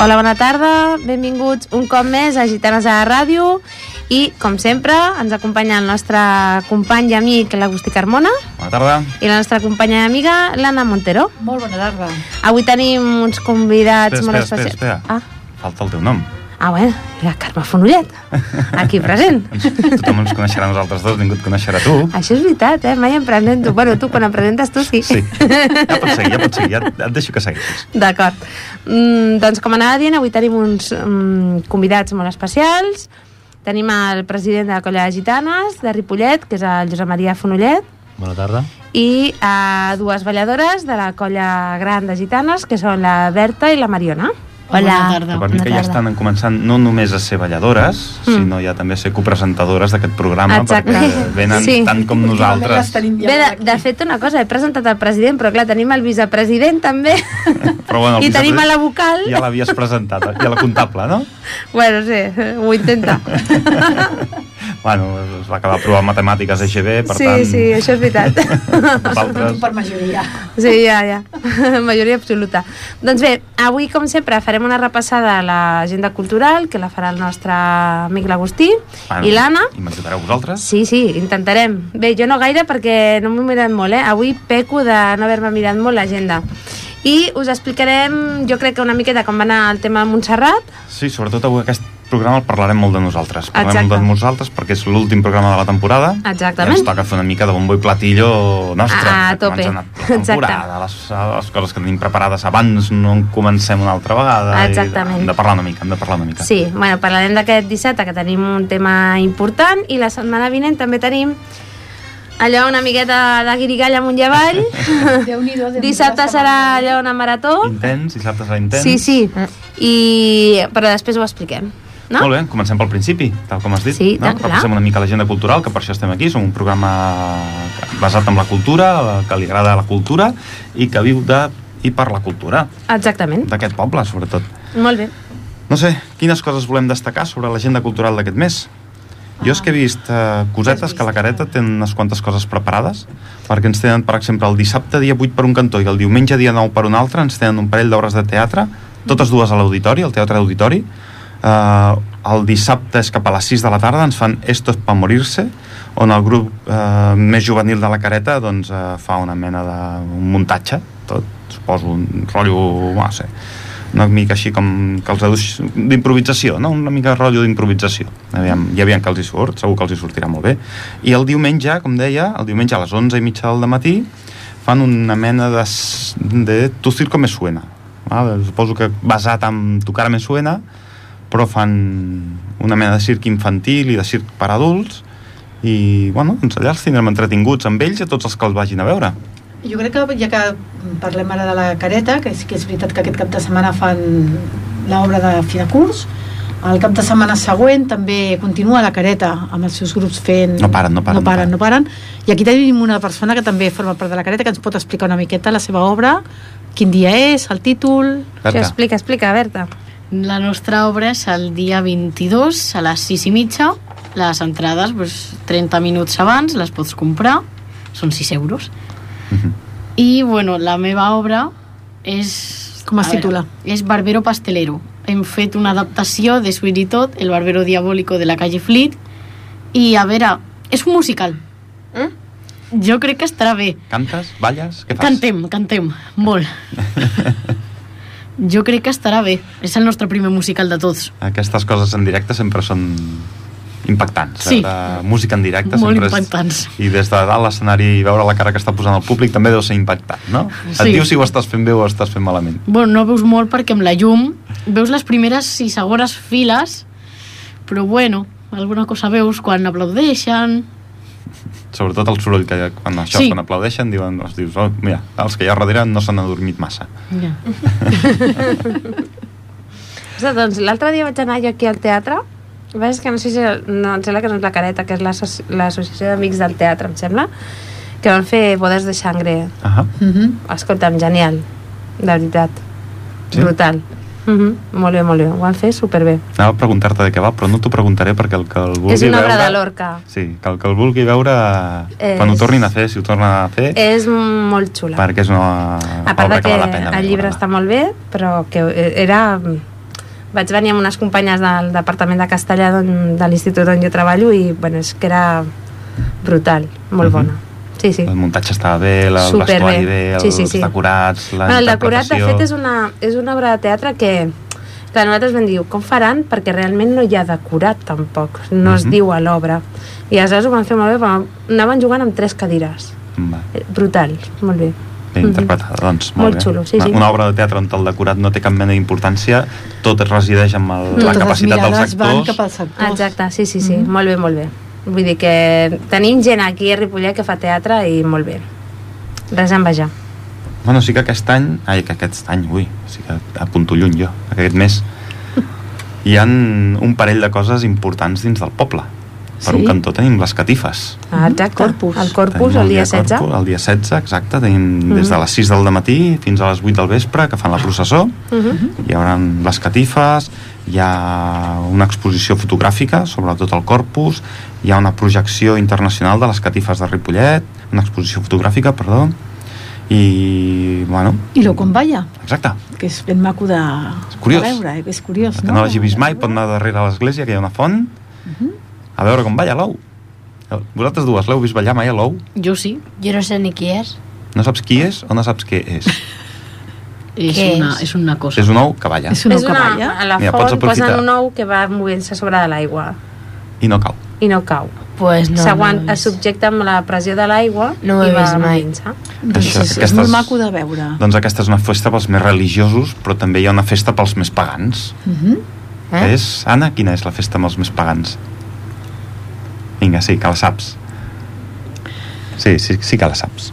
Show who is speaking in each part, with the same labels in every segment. Speaker 1: Hola, bona tarda, benvinguts un cop més a Gitanes a la Ràdio i, com sempre, ens acompanya el nostre company i amic, l'Agustí Carmona,
Speaker 2: Bona tarda.
Speaker 1: i la nostra companya i amiga, l'Anna Montero.
Speaker 3: Molt bona tarda.
Speaker 1: Avui tenim uns convidats molt especials.
Speaker 2: Ah. Falta el teu nom.
Speaker 1: Ah, ah, bueno, i la Carme Fonollet, Ah, aquí present.
Speaker 2: Doncs Tothom ens coneixerà a nosaltres dos, ningú et coneixerà tu.
Speaker 1: Això és veritat, eh? Mai em presento. Bueno, tu quan em presentes tu sí.
Speaker 2: Sí, ja pots seguir, ja pots seguir, ja et- et deixo que segueixis.
Speaker 1: D'acord. Mm, doncs com anava dient, avui tenim uns mm, convidats molt especials. Tenim el president de la Colla de Gitanes de Ripollet, que és el Josep Maria Fonollet,
Speaker 4: Bona tarda.
Speaker 1: i eh, dues balladores de la Colla Gran de Gitanes, que són la Berta i la Mariona.
Speaker 3: Bona
Speaker 2: No,
Speaker 3: tarda.
Speaker 2: per mi
Speaker 1: bona
Speaker 2: que
Speaker 1: tarda.
Speaker 2: ja estan començant no només a ser balladores,
Speaker 1: Mm.
Speaker 2: sinó ja també a ser copresentadores d'aquest programa,
Speaker 1: Exacte.
Speaker 2: perquè venen
Speaker 1: Sí.
Speaker 2: tant com nosaltres.
Speaker 1: Bé, de, de fet, una cosa, he presentat el president, però clar, tenim el vicepresident també.
Speaker 2: Però bueno, el
Speaker 1: I tenim
Speaker 2: vicepresident
Speaker 1: a la vocal.
Speaker 2: Ja l'havies presentat, i a la comptable, no?
Speaker 1: Bueno, sí, ho intenta.
Speaker 2: Bueno, es va acabar provant matemàtiques a GB, per
Speaker 1: sí,
Speaker 2: tant...
Speaker 1: sí, això és veritat.
Speaker 2: Nosaltres...
Speaker 3: Per majoria.
Speaker 1: Sí, ja, ja. Majoria absoluta. Doncs bé, avui, com sempre, farem una repassada a l'agenda cultural, que la farà el nostre amic l'Agustí
Speaker 2: Bueno,
Speaker 1: i l'Anna.
Speaker 2: I m'ajudareu vosaltres?
Speaker 1: Sí, sí, intentarem. Bé, jo no gaire perquè no m'ho he mirat molt, eh? Avui peco de no haver-me mirat molt l'agenda. I us explicarem, jo crec que una miqueta com va anar el tema a Montserrat.
Speaker 2: Sí, sobretot avui aquest programa el parlarem molt de nosaltres. Parlarem
Speaker 1: Exacte.
Speaker 2: molt de nosaltres perquè és l'últim programa de la temporada.
Speaker 1: Exactament.
Speaker 2: I ens toca fer una mica de bombo i platillo nostre.
Speaker 1: A- a
Speaker 2: de com ens
Speaker 1: tope.
Speaker 2: ha anat la temporada, les, les coses que tenim preparades abans, no en comencem una altra vegada. i
Speaker 1: Exactament.
Speaker 2: Hem de parlar una mica, hem de parlar una mica.
Speaker 1: Sí, bueno, parlarem d'aquest dissabte, que tenim un tema important, i la setmana vinent també tenim allò una miqueta de guirigalla amunt i avall.
Speaker 3: Déu-n'hi-do. Déu
Speaker 1: Dissabte serà allò una marató.
Speaker 2: Intens, dissabte serà intens.
Speaker 1: Sí, sí. I... Però després ho expliquem. No?
Speaker 2: Molt bé, comencem pel principi, tal com has dit.
Speaker 1: Sí,
Speaker 2: no?
Speaker 1: tant, clar.
Speaker 2: Repassem una mica l'agenda cultural, que per això estem aquí. Som un programa basat en la cultura, que li agrada la cultura i que viu de i per la cultura
Speaker 1: Exactament.
Speaker 2: d'aquest poble, sobretot.
Speaker 1: Molt bé.
Speaker 2: No sé, quines coses volem destacar sobre l'agenda cultural d'aquest mes? Jo és que he vist eh, cosetes que la careta té unes quantes coses preparades, perquè ens tenen, per exemple, el dissabte dia 8 per un cantó i el diumenge dia 9 per un altre, ens tenen un parell d'hores de teatre, totes dues a l'auditori, al Teatre Auditori. Eh, el dissabte és cap a les 6 de la tarda, ens fan Esto es pa morirse, on el grup eh, més juvenil de la careta doncs, eh, fa una mena de un muntatge, tot, suposo, un rotllo, no sé, una mica així com que els adus d'improvisació, no? una mica rotllo d'improvisació. Aviam, ja aviam que els hi surt, segur que els hi sortirà molt bé. I el diumenge, com deia, el diumenge a les 11 i mitja del matí fan una mena de, s- de Tu circo me suena. Val? Suposo que basat en Tu cara me suena, però fan una mena de circ infantil i de circ per adults i, bueno, doncs allà els tindrem entretinguts amb ells i a tots els que els vagin a veure.
Speaker 3: Jo crec que ja que parlem ara de la careta, que sí que és veritat que aquest cap de setmana fan l'obra de fi de curs, el cap de setmana següent també continua la careta amb els seus grups fent...
Speaker 2: No paren, no paren,
Speaker 3: No paren,
Speaker 2: no
Speaker 3: no paren. I aquí tenim una persona que també forma part de la careta que ens pot explicar una miqueta la seva obra, quin dia és, el títol...
Speaker 1: Això explica, explica, Berta.
Speaker 5: La nostra obra és el dia 22 a les 6 i mitja. Les entrades, doncs, 30 minuts abans, les pots comprar. Són 6 euros.
Speaker 2: Mhm.
Speaker 5: I, bueno, la meva obra és...
Speaker 3: Com es
Speaker 5: a veure,
Speaker 3: titula?
Speaker 5: és Barbero Pastelero. Hem fet una adaptació de Sweet i tot, El Barbero Diabólico de la calle Fleet. I, a veure, és un musical.
Speaker 1: Mm?
Speaker 5: Jo crec que estarà bé.
Speaker 2: Cantes? Balles? Què fas?
Speaker 5: Cantem, cantem, molt. jo crec que estarà bé. És el nostre primer musical de tots.
Speaker 2: Aquestes coses en directe sempre són impactants.
Speaker 5: Sí.
Speaker 2: La música en directe
Speaker 5: Molt
Speaker 2: sempre
Speaker 5: impactants.
Speaker 2: És... I des de dalt l'escenari i veure la cara que està posant el públic també deu ser impactant, no? Et
Speaker 5: Sí.
Speaker 2: diu si ho estàs fent bé o ho estàs fent malament.
Speaker 5: Bueno, no veus molt perquè amb la llum veus les primeres i segones files, però bueno, alguna cosa veus quan aplaudeixen.
Speaker 2: Sobretot el soroll que hi ha quan això,
Speaker 5: Sí.
Speaker 2: quan aplaudeixen, diuen, els dius, oh, mira, els que hi ha darrere no s'han adormit massa.
Speaker 5: Ja.
Speaker 1: Ostres, doncs l'altre dia vaig anar jo aquí al teatre el que passa és que no sé si... No, em sembla que no és la careta, que és l'asso- l'Associació d'Amics del Teatre, em sembla, que van fer bodes de sangre.
Speaker 2: Ah,
Speaker 3: Mm -hmm.
Speaker 1: Escolta'm, genial, de veritat.
Speaker 2: Sí?
Speaker 1: Brutal. Mm Molt bé, molt bé. Ho van fer superbé.
Speaker 2: anava a preguntar-te de què va, però no t'ho preguntaré perquè el que el vulgui
Speaker 1: És una
Speaker 2: veure...
Speaker 1: obra de Lorca.
Speaker 2: Sí, que el que el vulgui veure,
Speaker 1: És-
Speaker 2: quan ho tornin a fer, si ho tornen a fer,
Speaker 1: És molt xula.
Speaker 2: perquè és una
Speaker 1: a part
Speaker 2: obra
Speaker 1: de
Speaker 2: que
Speaker 1: que
Speaker 2: val la pena.
Speaker 1: el llibre
Speaker 2: recordar.
Speaker 1: està molt bé, però que eh, era mm, vaig venir amb unes companyes del departament de castellà d'on- de l'institut on jo treballo i bueno, és que era brutal, molt
Speaker 2: Mhm.
Speaker 1: bona. Sí, sí.
Speaker 2: El muntatge estava bé, la, el
Speaker 1: Superbé.
Speaker 2: vestuari bé, el,
Speaker 1: Sí, sí, sí.
Speaker 2: els decorats, la
Speaker 1: Bueno, el decorat, de
Speaker 2: interpretació.
Speaker 1: fet, és una, és una obra de teatre que... Clar, nosaltres vam dir, com faran? Perquè realment no hi ha decorat, tampoc. No es
Speaker 2: Mhm.
Speaker 1: diu a l'obra. I aleshores ho van fer molt bé, vam- anaven jugant amb tres cadires.
Speaker 2: Mm, Va,
Speaker 1: Eh, Brutal, molt bé.
Speaker 2: ben
Speaker 1: Mhm.
Speaker 2: interpretada, doncs.
Speaker 1: Molt
Speaker 2: Molt, bé.
Speaker 1: xulo, sí,
Speaker 2: una,
Speaker 1: sí.
Speaker 2: Una obra de teatre on el decorat no té cap mena d'importància, tot resideix en el, la capacitat dels
Speaker 3: Totes les mirades van
Speaker 2: actors.
Speaker 3: cap als actors.
Speaker 1: Exacte, sí, sí, sí,
Speaker 3: Mhm.
Speaker 1: molt bé, molt bé. Vull dir que tenim gent aquí a Ripollet que fa teatre i molt bé. Res a envejar.
Speaker 2: Bueno, sí que aquest any... Ai, que aquest any, ui, sí que apunto lluny jo, aquest mes. Hi han un parell de coses importants dins del poble. Per
Speaker 3: Sí?
Speaker 2: un cantó tenim les catifes.
Speaker 1: Ah, exacte.
Speaker 3: Mhm. Corpus.
Speaker 1: El Corpus,
Speaker 2: Tenim
Speaker 1: el dia
Speaker 2: Corpus,
Speaker 1: 16.
Speaker 2: El dia 16, exacte. Tenim des de
Speaker 1: Mhm.
Speaker 2: les 6 del matí fins a les 8 del vespre, que fan la processó.
Speaker 1: Mhm.
Speaker 2: Hi haurà les catifes, hi ha una exposició fotogràfica sobre tot el corpus, hi ha una projecció internacional de les catifes de Ripollet, una exposició fotogràfica, perdó, i, bueno...
Speaker 3: I lo com balla,
Speaker 2: Exacte,
Speaker 3: que és ben maco de,
Speaker 2: És curiós.
Speaker 3: de veure, eh? és curiós.
Speaker 2: que no l'hagi vist mai pot anar darrere a l'església, que hi ha una font,
Speaker 3: Mhm.
Speaker 2: a veure com balla l'ou. Vosaltres dues l'heu vist ballar mai a l'ou?
Speaker 5: Jo sí.
Speaker 4: Jo no sé ni qui és.
Speaker 2: No saps qui és o no saps què és?
Speaker 5: És,
Speaker 4: Què
Speaker 5: una,
Speaker 4: és?
Speaker 5: és una cosa.
Speaker 2: És un ou que balla
Speaker 3: És un ou que balla.
Speaker 1: a la
Speaker 2: Mira, pots
Speaker 1: font
Speaker 2: aprofitar.
Speaker 1: posen un ou que va movent-se sobre de l'aigua
Speaker 2: i no cau.
Speaker 1: i no cau.
Speaker 4: Pues no,
Speaker 1: No, S'aguant,
Speaker 4: no ho he
Speaker 1: es
Speaker 4: vist.
Speaker 1: subjecta amb la pressió de l'aigua
Speaker 4: No ho he
Speaker 1: i va
Speaker 4: vist mai.
Speaker 1: movent-se.
Speaker 3: Doncs
Speaker 2: Això,
Speaker 3: és, és
Speaker 2: aquestes-
Speaker 3: molt maco de veure.
Speaker 2: Doncs aquesta és una festa pels més religiosos, però també hi ha una festa pels més pagans.
Speaker 3: Mhm.
Speaker 2: Eh? És, Anna, quina és la festa amb els més pagans? Vinga, sí, que la saps. Sí, sí, sí que la saps.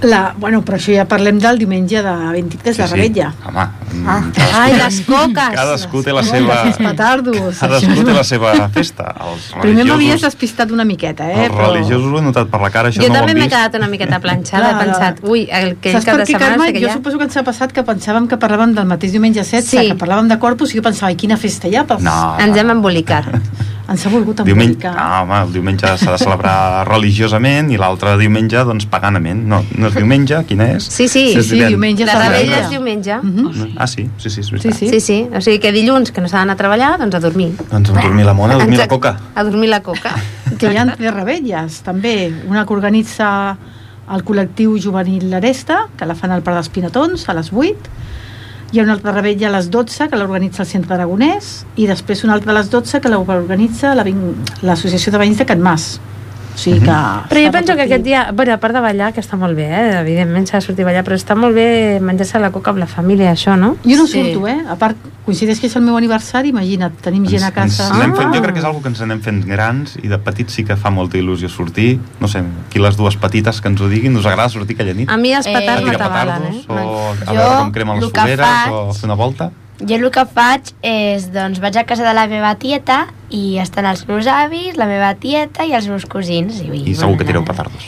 Speaker 3: La, bueno, però això ja parlem del diumenge de 23
Speaker 2: sí,
Speaker 3: de Rebetlla.
Speaker 2: Sí. Home,
Speaker 3: Ah.
Speaker 2: mm, cadascú,
Speaker 1: Ai, les coques!
Speaker 2: cadascú té la
Speaker 3: Els
Speaker 2: seva...
Speaker 3: petardos.
Speaker 2: Cadascú té la seva festa. Els
Speaker 3: Primer m'havies
Speaker 2: religiosos,
Speaker 3: despistat una miqueta, eh?
Speaker 2: els religiosos ho he notat per la cara, això
Speaker 1: Jo
Speaker 2: no ho
Speaker 1: també
Speaker 2: han
Speaker 1: m'he
Speaker 2: vist.
Speaker 1: quedat una miqueta planxada, he
Speaker 3: Clar.
Speaker 1: pensat, ui, aquell
Speaker 3: Saps
Speaker 1: cap
Speaker 3: per
Speaker 1: de
Speaker 3: què,
Speaker 1: setmana
Speaker 3: Carme?
Speaker 1: sé que
Speaker 3: Jo
Speaker 1: ja...
Speaker 3: suposo que ens ha passat que pensàvem que parlàvem del mateix diumenge 16,
Speaker 1: Sí.
Speaker 3: que parlàvem de corpus, i jo pensava, ai, quina festa hi ha? Pels...
Speaker 2: No,
Speaker 1: Ens hem embolicat.
Speaker 3: Ens ha volgut
Speaker 2: Diumenge,
Speaker 3: embolicar.
Speaker 2: ah, home, el diumenge s'ha de celebrar religiosament i l'altre diumenge, doncs, paganament. No, no és diumenge, quina és?
Speaker 1: Sí, sí.
Speaker 2: Sí,
Speaker 3: Sí, sí,
Speaker 2: divendres.
Speaker 3: diumenge
Speaker 1: La
Speaker 3: és
Speaker 2: rebella
Speaker 1: rebella és
Speaker 3: diumenge.
Speaker 1: diumenge.
Speaker 3: Mhm.
Speaker 5: Sí.
Speaker 2: Ah, sí, sí, sí, és
Speaker 3: Sí,
Speaker 2: veritat.
Speaker 3: sí.
Speaker 1: Sí, sí. O sigui que dilluns, que no s'ha d'anar a treballar, doncs a dormir.
Speaker 2: Doncs a dormir la mona, a dormir la
Speaker 1: Exacte.
Speaker 2: coca.
Speaker 1: A dormir la coca.
Speaker 3: Que hi ha tres rebelles, també. Una que organitza el col·lectiu juvenil L'Aresta, que la fan al Parc dels Pinatons, a les 8. Hi ha una altra rebella a les 12, que l'organitza el Centre Aragonès. I després una altra a les 12, que l'organitza la vin- l'Associació de Veïns de Can Mas. O sigui que...
Speaker 1: Mhm. Però jo penso que aquest dia, bueno, a part de ballar, que està molt bé, eh? evidentment s'ha de sortir a ballar, però està molt bé menjar-se la coca amb la família, això, no?
Speaker 3: Jo no
Speaker 5: Sí.
Speaker 3: surto, eh? A part, coincideix que és el meu aniversari, imagina't, tenim gent a
Speaker 2: Ens,
Speaker 3: casa.
Speaker 2: ens anem fent,
Speaker 1: Ah.
Speaker 2: jo crec que és algo que ens anem fent grans i de petits sí que fa molta il·lusió sortir. No sé, aquí les dues petites que ens ho diguin, us agrada sortir aquella nit?
Speaker 1: A mi els
Speaker 4: Eh,
Speaker 1: petards
Speaker 2: a tirar
Speaker 1: m'atabalen,
Speaker 2: petardos,
Speaker 1: eh?
Speaker 2: o a
Speaker 4: Jo,
Speaker 2: veure com cremen les
Speaker 4: el que
Speaker 2: fogueres,
Speaker 4: faig-
Speaker 2: o fer una volta.
Speaker 4: Jo el que faig és, doncs, vaig a casa de la meva tieta i estan els meus avis, la meva tieta i els meus cosins. I,
Speaker 2: I segur que
Speaker 4: bueno,
Speaker 2: tireu petardos.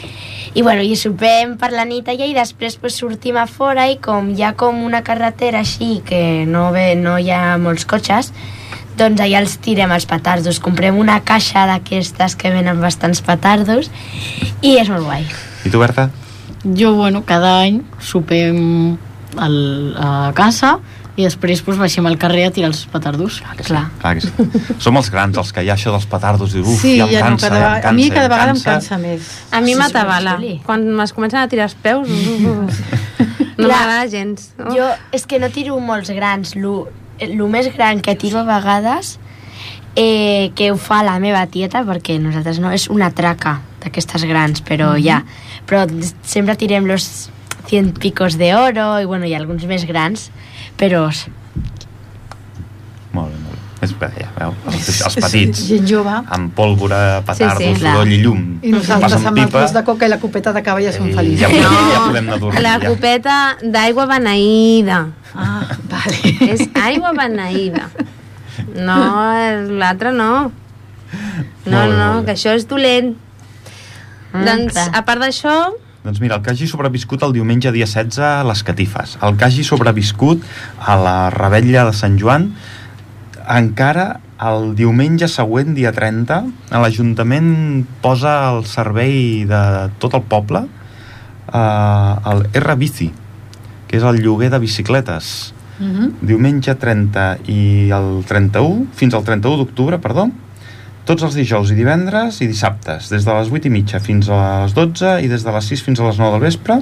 Speaker 4: I, bueno, i sopem per la nit allà i després pues, sortim a fora i com hi ha com una carretera així que no, ve, no hi ha molts cotxes, doncs allà els tirem els petardos. Comprem una caixa d'aquestes que venen bastants petardos i és molt guai.
Speaker 2: I tu, Berta?
Speaker 5: Jo, bueno, cada any sopem al, a casa i després pues, baixem al carrer a tirar els petardos. Ah,
Speaker 4: Clar.
Speaker 2: Clar que sí. Som els grans, els que hi ha això dels petardos, i uf,
Speaker 3: Sí,
Speaker 2: ja em
Speaker 3: ja no,
Speaker 2: cansa,
Speaker 3: cada,
Speaker 2: ja em
Speaker 3: a mi
Speaker 2: cansa,
Speaker 3: cada
Speaker 2: ja
Speaker 3: vegada em cansa més.
Speaker 1: A mi
Speaker 4: Sí,
Speaker 1: m'atabala.
Speaker 4: sí, sí.
Speaker 1: Quan es comencen a tirar els peus... No
Speaker 4: Clar.
Speaker 1: m'agrada gens. no?
Speaker 4: Jo és que no tiro molts grans. El més gran que tiro a vegades, eh, que ho fa la meva tieta, perquè nosaltres no, és una traca d'aquestes grans, però ja. Però sempre tirem los 100 picos de oro i bueno, hi ha alguns més grans, però s-
Speaker 2: Molt bé, molt bé. És, bé, ja veu, els, els
Speaker 3: És
Speaker 2: petits,
Speaker 3: Gent jove.
Speaker 2: amb pòlvora, petardos,
Speaker 1: Sí, sí,
Speaker 4: clar.
Speaker 2: soroll i llum.
Speaker 3: I nosaltres
Speaker 2: Passen
Speaker 3: amb els
Speaker 2: pipa. Eh,
Speaker 3: dos de coca i la copeta de cava ja som
Speaker 2: I
Speaker 3: feliços.
Speaker 2: ja, podem, ja
Speaker 1: No,
Speaker 2: podem anar a dormir.
Speaker 1: La
Speaker 2: ja.
Speaker 1: copeta d'aigua beneïda.
Speaker 3: Ah, vale.
Speaker 1: És aigua beneïda. No, l'altre no. No,
Speaker 2: Molt bé,
Speaker 1: no,
Speaker 2: molt bé.
Speaker 1: que això és dolent.
Speaker 4: Mm,
Speaker 1: doncs,
Speaker 4: clar.
Speaker 1: a part d'això,
Speaker 2: Doncs mira, el que hagi sobreviscut el diumenge dia 16 a les catifes, el que hagi sobreviscut a la rebetlla de Sant Joan, encara el diumenge següent, dia 30, l'Ajuntament posa al servei de tot el poble eh, el R-Bici, que és el lloguer de bicicletes.
Speaker 3: Mm -hmm.
Speaker 2: diumenge 30 i el 31, fins al 31 d'octubre, perdó, tots els dijous i divendres i dissabtes, des de les 8 i mitja fins a les 12 i des de les 6 fins a les 9 del vespre,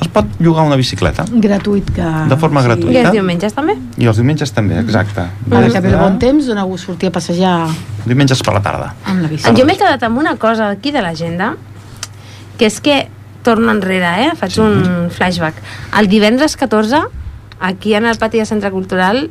Speaker 2: es pot llogar una bicicleta.
Speaker 3: Gratuït que...
Speaker 2: De forma
Speaker 1: Ah, I
Speaker 2: gratuïta.
Speaker 1: els diumenges Ah, també?
Speaker 2: I els diumenges també, exacte.
Speaker 3: Ara
Speaker 2: Des
Speaker 3: que ve el
Speaker 2: de-
Speaker 3: bon temps, dona gust sortir a passejar
Speaker 2: Diumenges per la tarda.
Speaker 3: amb la bici.
Speaker 1: Ah, Jo m'he quedat amb una cosa aquí de l'agenda, que és que torno enrere, eh? faig sí.
Speaker 2: Sí.
Speaker 1: un flashback. El divendres 14, aquí en el pati de Centre Cultural,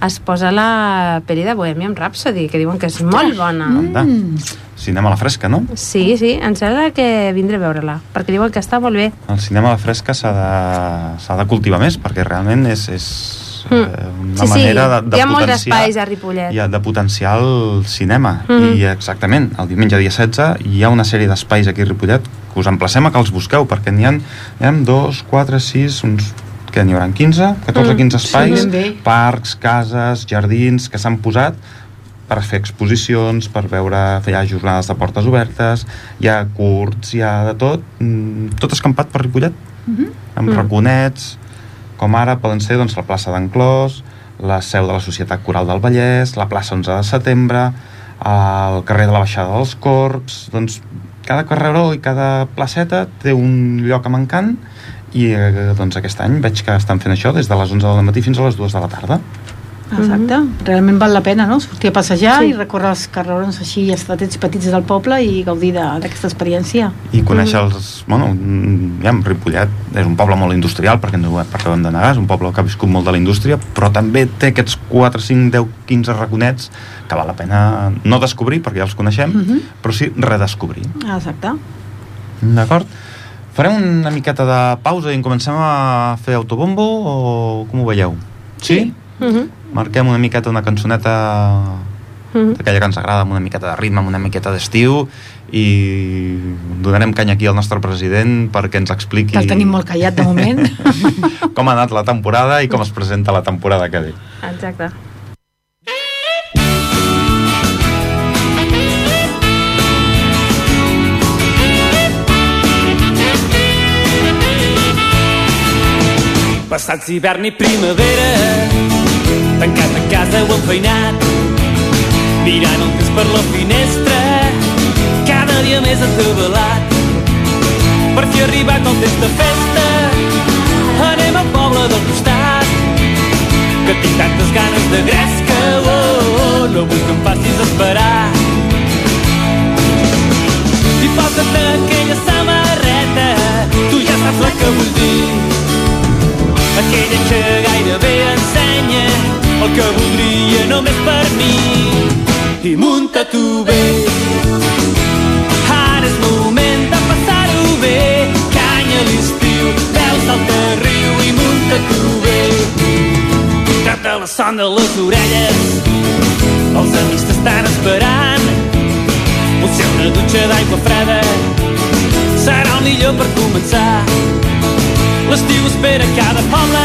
Speaker 1: es posa la peli de Bohemian Rhapsody, que diuen que és molt bona.
Speaker 2: Anda.
Speaker 3: Mm.
Speaker 2: Cinema a la fresca, no?
Speaker 1: Sí, sí, em sembla que vindré a veure-la, perquè diuen que està molt bé.
Speaker 2: El cinema a la fresca s'ha de, s'ha de cultivar més, perquè realment és, és
Speaker 1: Mm.
Speaker 2: eh, una
Speaker 1: Sí, sí,
Speaker 2: manera de, de
Speaker 1: hi ha molts
Speaker 2: potenciar...
Speaker 1: espais a Ripollet.
Speaker 2: hi ha de potenciar el cinema.
Speaker 1: Mm.
Speaker 2: I exactament, el diumenge dia 16 hi ha una sèrie d'espais aquí a Ripollet que us emplacem a que els busqueu, perquè n'hi ha, hi ha 2, 4, 6, uns que n'hi haurà 15, 14, 15 espais,
Speaker 3: ben bé.
Speaker 2: parcs, cases, jardins, que s'han posat per fer exposicions, per veure, fer hi ha jornades de portes obertes, hi ha curts, hi ha de tot, mm, tot escampat per Ripollet,
Speaker 3: Mhm.
Speaker 2: amb
Speaker 1: Mm.
Speaker 2: raconets, com ara poden ser doncs, la plaça d'en Clos, la seu de la Societat Coral del Vallès, la plaça 11 de setembre, el carrer de la Baixada dels Corps... Doncs cada carreró i cada placeta té un lloc amb encant i eh, doncs aquest any veig que estan fent això des de les 11 del matí fins a les 2 de la tarda.
Speaker 3: Exacte. Realment val la pena, no?, sortir a passejar
Speaker 1: Sí.
Speaker 3: i recórrer els carrerons així estretets i petits del poble i gaudir de- d'aquesta experiència.
Speaker 2: i conèixer els... Bueno, mm, ja, Ripollet és un poble molt industrial, perquè no ho perquè ho hem de negar, és un poble que ha viscut molt de la indústria, però també té aquests 4, 5, 10, 15 raconets que val la pena no descobrir, perquè ja els coneixem,
Speaker 3: Mhm.
Speaker 2: però sí redescobrir.
Speaker 3: Ah, Exacte.
Speaker 2: D'acord? Farem una miqueta de pausa i en comencem a fer autobombo o com ho veieu? Sí?
Speaker 1: Uh -huh.
Speaker 2: Marquem una miqueta una cançoneta
Speaker 1: Uh -huh.
Speaker 2: d'aquella que ens agrada, amb una miqueta de ritme, amb una miqueta d'estiu, i donarem canya aquí al nostre president perquè ens expliqui
Speaker 3: Que el tenim molt callat de moment.
Speaker 2: com ha anat la temporada i com es presenta la temporada que ve.
Speaker 1: Exacte.
Speaker 6: Passats hivern i primavera, tancat a casa o enfeinat, mirant el temps per la finestra, cada dia més atabalat. Perquè ha arribat el temps de festa, anem al poble del costat, que tinc tantes ganes de gresca, oh, oh, no vull que em facis esperar. I posa't aquella samarreta, tu ja saps la que vull dir aquella que gairebé ensenya el que voldria només per mi. I munta tu bé, ara és moment de passar-ho bé, canya a l'estiu, veus el que riu i munta tu bé. Trata la son de les orelles, els amics t'estan esperant, potser una dutxa d'aigua freda serà el millor per començar. L'estiu espera cada poble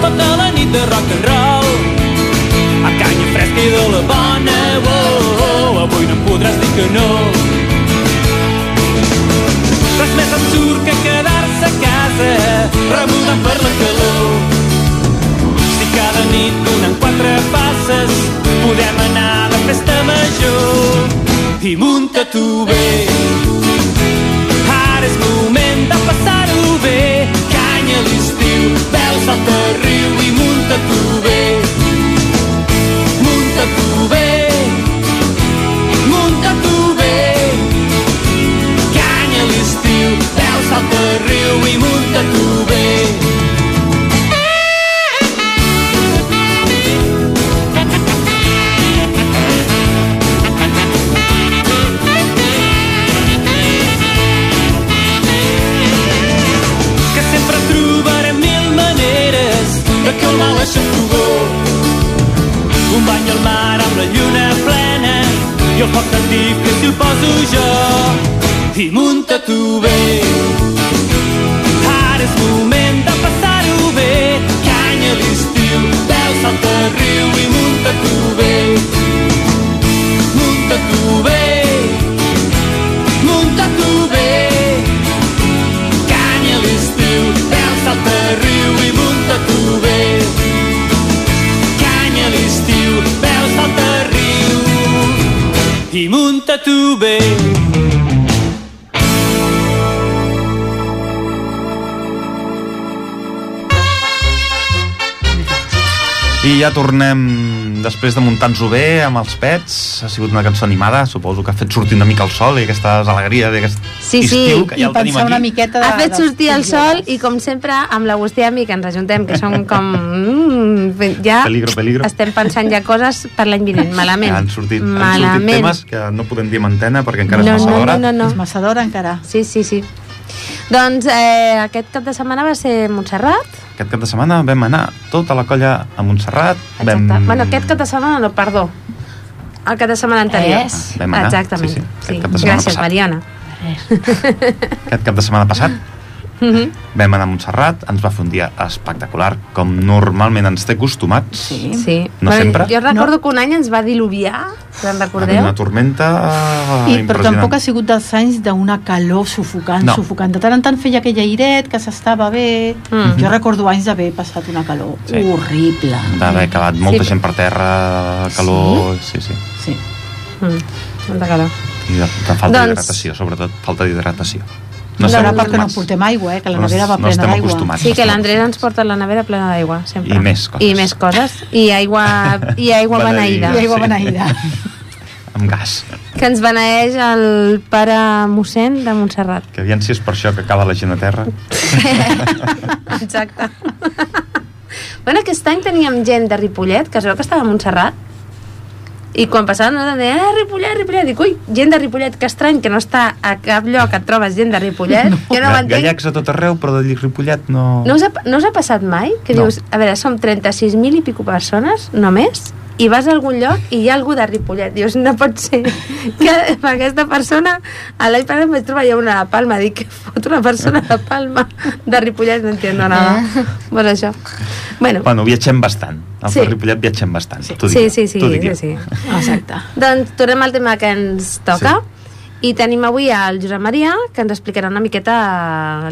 Speaker 6: Tota la nit de rock and roll A canya fresca i de la bona oh, oh, Avui no em podràs dir que no Res més absurd que quedar-se a casa Remudat per la calor Si cada nit donant quatre passes Podem anar de festa major I munta tu bé Ara és moment de passar-ho bé. Canya a l'estiu, veu salta riu i munta tu bé. Munta tu bé. Munta tu bé. Canya a l'estiu, veu salta riu i munta tu bé. que sempre trobarem mil maneres de calmar la xafogor. Un bany al mar amb la lluna plena i el foc tan div que si el poso jo. I munta tu bé. Ara és moment de passar-ho bé. Canya a l'estiu, veu salta riu i munta tu bé. Munta tu bé. Munta tu bé canya a l'estiu, veu salta riu i munta tu bé.
Speaker 7: munta tu bé.
Speaker 2: I ja tornem després de muntar-nos-ho bé amb els pets. Ha sigut una cançó animada, suposo que ha fet sortir una mica el sol i aquesta alegria d'aquest
Speaker 1: Sí, sí,
Speaker 2: estiu que
Speaker 3: I
Speaker 2: ja el tenim
Speaker 3: pensar una
Speaker 2: aquí.
Speaker 3: miqueta... De,
Speaker 1: Ha fet
Speaker 3: dels
Speaker 1: sortir el
Speaker 3: teus
Speaker 1: sol
Speaker 3: joves.
Speaker 1: i, com sempre, amb l'Agustí i amb mi, que ens ajuntem, que som com... Mm, ja
Speaker 2: Peligro, peligro.
Speaker 1: estem pensant ja coses per l'any vinent, malament.
Speaker 2: Ja han sortit, han sortit
Speaker 1: malament.
Speaker 2: temes que no podem dir amb antena perquè encara
Speaker 1: no,
Speaker 2: és massa
Speaker 1: no,
Speaker 2: hora.
Speaker 1: no, no,
Speaker 3: És
Speaker 1: no.
Speaker 3: massa d'hora encara.
Speaker 1: Sí, sí, sí. Doncs eh, aquest cap de setmana va ser Montserrat.
Speaker 2: Aquest cap de setmana vam anar tota la colla a Montserrat.
Speaker 1: Exacte.
Speaker 2: Vam...
Speaker 1: Bueno, aquest cap de setmana no, perdó. El cap de setmana anterior.
Speaker 4: Res.
Speaker 2: Ah, vam anar.
Speaker 1: Exactament.
Speaker 2: Sí, sí, aquest cap de setmana
Speaker 1: Gràcies,
Speaker 2: passat.
Speaker 1: Mariona.
Speaker 2: Aquest cap de setmana passat
Speaker 3: Mm-hmm.
Speaker 1: Mhm.
Speaker 2: vam anar a Montserrat, ens va fer un dia espectacular, com normalment ens té acostumats.
Speaker 3: Sí.
Speaker 1: Sí.
Speaker 2: No sempre?
Speaker 1: Jo recordo que un any ens va diluviar, se'n
Speaker 2: Havia
Speaker 1: recordeu?
Speaker 2: una tormenta
Speaker 3: I,
Speaker 2: Ah, impressionant.
Speaker 3: però tampoc ha sigut dels anys d'una calor sufocant,
Speaker 2: No.
Speaker 3: sufocant. De tant en tant feia aquell airet que s'estava bé.
Speaker 1: Mm.
Speaker 3: Jo recordo anys d'haver passat una calor
Speaker 2: Sí.
Speaker 3: horrible.
Speaker 2: d'haver quedat molta
Speaker 1: Sí.
Speaker 2: gent per terra, calor... Sí, sí.
Speaker 3: Sí.
Speaker 1: Mm. Molta calor.
Speaker 2: I de, de falta
Speaker 1: Doncs-
Speaker 2: d'hidratació, sobretot falta d'hidratació.
Speaker 3: No
Speaker 2: estem
Speaker 3: Serà perquè no
Speaker 2: acostumats.
Speaker 3: portem aigua, eh? que la
Speaker 2: No es-
Speaker 3: nevera va
Speaker 2: no
Speaker 3: plena
Speaker 2: estem
Speaker 3: d'aigua.
Speaker 2: acostumats.
Speaker 1: Sí, que l'Andrés ens porta la nevera plena d'aigua, sempre.
Speaker 2: I més coses.
Speaker 1: I més coses. I aigua, i aigua
Speaker 2: Beneïda.
Speaker 1: beneïda.
Speaker 3: I aigua
Speaker 2: Sí. Ah,
Speaker 3: beneïda.
Speaker 2: Amb gas.
Speaker 1: Que ens beneeix el pare mossèn de Montserrat.
Speaker 2: Que aviam si és per això que acaba la gent a terra.
Speaker 1: Exacte. bueno, aquest any teníem gent de Ripollet, que es veu que estava a Montserrat, i quan passaven no deia, eh, Ripollet, Ripollet, dic, ui, gent de Ripollet, que estrany que no està a cap lloc et trobes gent de Ripollet, no. jo no ho
Speaker 2: Ga-
Speaker 1: entenc.
Speaker 2: Gallecs a tot arreu, però de Ripollet no...
Speaker 1: No us, ha, no us ha passat mai que
Speaker 2: No.
Speaker 1: dius, a veure, som 36.000 i pico persones, només, i vas a algun lloc i hi ha algú de Ripollet. Dius, no pot ser que per aquesta persona... A l'any passat em vaig trobar jo una de Palma. Dic, que fot una persona de Palma de Ripollet? No entiendo nada. Pues això. Bueno,
Speaker 2: Bueno, viatgem bastant. Al
Speaker 1: Sí.
Speaker 2: sí. Ripollet viatgem bastant. Sí,
Speaker 1: sí, sí, sí,
Speaker 2: T'ho dic
Speaker 1: sí,
Speaker 2: jo.
Speaker 1: sí.
Speaker 3: Exacte.
Speaker 1: Doncs tornem al tema que ens toca. I tenim avui el Josep Maria, que ens explicarà una miqueta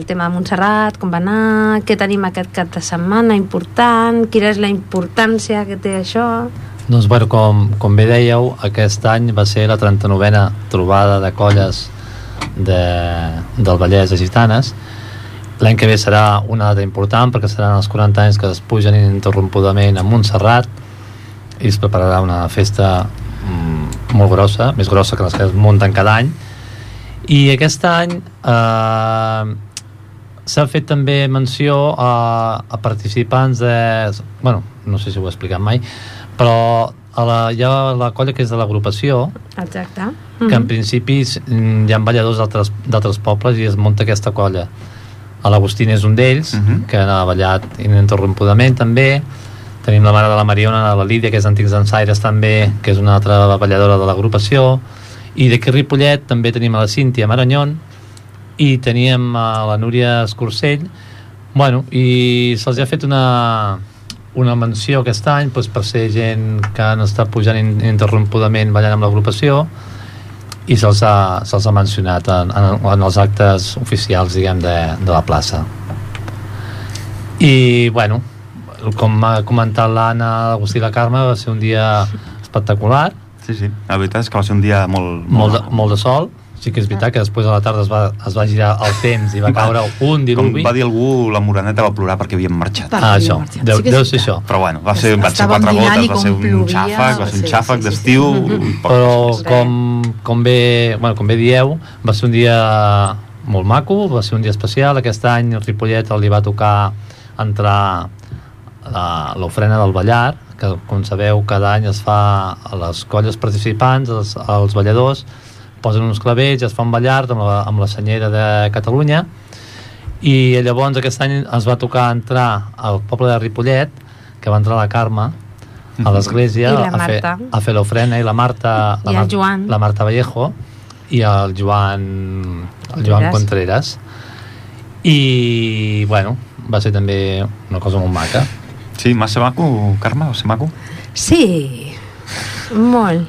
Speaker 1: el tema de Montserrat, com va anar, què tenim aquest cap de setmana important, quina és la importància que té això...
Speaker 6: Doncs, bueno, com, com bé dèieu, aquest any va ser la 39a trobada de colles de, del Vallès de Gitanes. L'any que ve serà una data important perquè seran els 40 anys que es pugen ininterrompudament a Montserrat i es prepararà una festa mm, molt grossa, més grossa que les que es munten cada any. I aquest any eh, s'ha fet també menció a, a participants de... Bueno, no sé si ho he explicat mai, però a la, hi ha la colla que és de l'agrupació,
Speaker 1: Exacte.
Speaker 6: mm -hmm.
Speaker 1: Mhm.
Speaker 6: que en principi s- mm, hi ha balladors d'altres- d'altres pobles i es munta aquesta colla. A l'Agustín és un d'ells, mm
Speaker 2: Mhm.
Speaker 6: -hmm. que ha ballat ininterrompudament també, tenim la mare de la Mariona, la Lídia, que és d'Antics Ensaires també, que és una altra balladora de l'agrupació, i d'aquí a Ripollet també tenim a la Cíntia Maranyon, i teníem a la Núria Escorcell bueno, i se'ls ha fet una, una menció aquest any doncs, per ser gent que han estat pujant in- interrompudament ballant amb l'agrupació i se'ls ha, se ha mencionat en, en, en els actes oficials diguem de, de la plaça i bueno com ha comentat l'Anna l'Agustí i la Carme va ser un dia espectacular
Speaker 2: Sí, sí. La veritat és que va ser un dia molt...
Speaker 6: molt de, molt de sol sí que és veritat que després a la tarda es va, es va girar el temps i va caure un
Speaker 2: Com
Speaker 6: diluvi
Speaker 2: va dir algú, la Moraneta va plorar perquè havien marxat.
Speaker 3: Per-
Speaker 6: ah, això,
Speaker 3: Sí
Speaker 6: deu,
Speaker 3: que és
Speaker 6: deu ser
Speaker 3: veritat.
Speaker 6: això
Speaker 2: Però bueno, va ser, van ser
Speaker 3: Estava
Speaker 2: quatre
Speaker 3: mirant i
Speaker 2: gotes, va
Speaker 3: com
Speaker 2: ser un
Speaker 3: plovia,
Speaker 2: xàfec, va ser
Speaker 3: sí,
Speaker 2: un xàfec
Speaker 3: sí, sí,
Speaker 2: d'estiu... i poca
Speaker 6: però
Speaker 2: cosa més.
Speaker 6: com, com, bé, bueno, com bé dieu va ser un dia molt maco va ser un dia especial, aquest any el Ripollet li va tocar entrar la- l'ofrena del ballar que com sabeu cada any es fa a les colles participants els, els balladors posen uns clavells, es fan ballar amb la, amb la senyera de Catalunya i llavors aquest any ens va tocar entrar al poble de Ripollet que va entrar la Carme a l'església
Speaker 1: Mhm. I la
Speaker 6: a, fer,
Speaker 1: Marta.
Speaker 6: a fer l'ofrena i la Marta la
Speaker 1: I el
Speaker 6: Mar-
Speaker 1: Joan.
Speaker 6: la Marta Vallejo i el Joan el
Speaker 1: Contreras.
Speaker 6: Joan Contreras i bueno va ser també una cosa molt maca
Speaker 2: Sí, va ser maco, Carme, va ser maco.
Speaker 1: Sí, molt.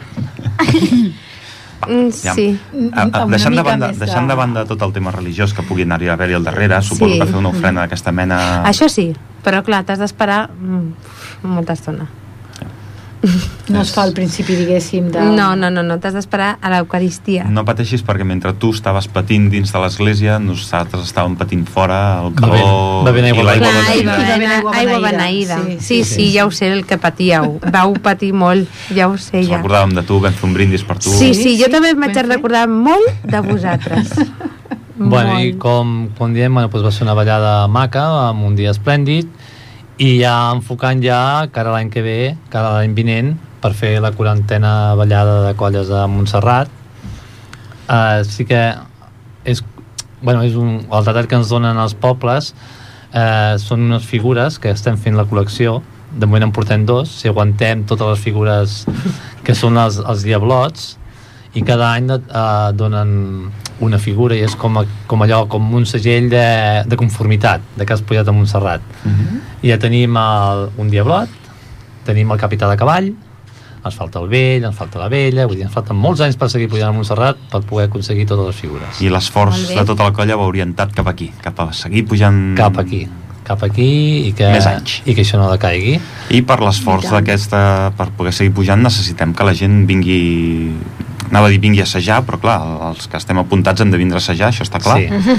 Speaker 1: Mm,
Speaker 2: Ja.
Speaker 1: sí.
Speaker 2: A, a,
Speaker 3: Amb una
Speaker 2: deixant, de
Speaker 3: mica
Speaker 2: banda,
Speaker 3: més de-
Speaker 2: deixant de banda tot el tema religiós que pugui anar-hi a haver-hi al darrere, suposo
Speaker 1: Sí.
Speaker 2: que fer una ofrena Ah. d'aquesta mena...
Speaker 1: Això sí, però clar, t'has d'esperar mm, molta estona.
Speaker 3: No es fa al principi, diguéssim, de...
Speaker 1: No, no, no, no t'has d'esperar a l'Eucaristia.
Speaker 2: No pateixis perquè mentre tu estaves patint dins de l'església, nosaltres estàvem patint fora, el
Speaker 6: Va bé,
Speaker 2: calor
Speaker 6: va bé aigua
Speaker 2: i
Speaker 6: beneïda.
Speaker 2: l'aigua
Speaker 1: Clar, aigua,
Speaker 2: beneïda.
Speaker 3: beneïda.
Speaker 1: aigua, aigua beneïda. Sí sí, sí, sí, ja ho sé el que patíeu. Vau patir molt, ja ho sé,
Speaker 2: Ens
Speaker 1: ja.
Speaker 2: recordàvem de tu, vam fer un brindis per tu.
Speaker 1: Sí, sí, jo
Speaker 5: Sí,
Speaker 1: també em
Speaker 5: ben
Speaker 1: vaig
Speaker 5: fet.
Speaker 1: recordar molt de vosaltres.
Speaker 6: Bueno, i com, com diem, bueno, doncs va ser una ballada maca, amb un dia esplèndid, i ja enfocant ja cara a l'any que ve, cara a l'any vinent, per fer la quarantena ballada de colles de Montserrat. Uh, sí que és, bueno, és un, el detall que ens donen els pobles uh, són unes figures que estem fent la col·lecció, de moment en portem dos, si aguantem totes les figures que són els, els diablots, i cada any eh, donen una figura i és com, a, com allò, com un segell de, de conformitat, de que has pujat a Montserrat. Uh
Speaker 2: Mhm.
Speaker 6: -huh. I ja tenim el, un diablot, tenim el capità de cavall, ens falta el vell, ens falta la vella, vull dir, ens falten molts anys per seguir pujant a Montserrat per poder aconseguir totes les figures.
Speaker 2: I l'esforç
Speaker 1: Molt bé.
Speaker 2: de tota la colla va orientat cap aquí, cap a seguir pujant...
Speaker 6: Cap aquí, cap aquí i que,
Speaker 2: Més anys.
Speaker 6: i que això no decaigui.
Speaker 2: I per l'esforç d'aquesta, per poder seguir pujant, necessitem que la gent vingui anava a dir vingui a assajar, però clar, els que estem apuntats hem de vindre a assajar, això està clar.
Speaker 6: Sí.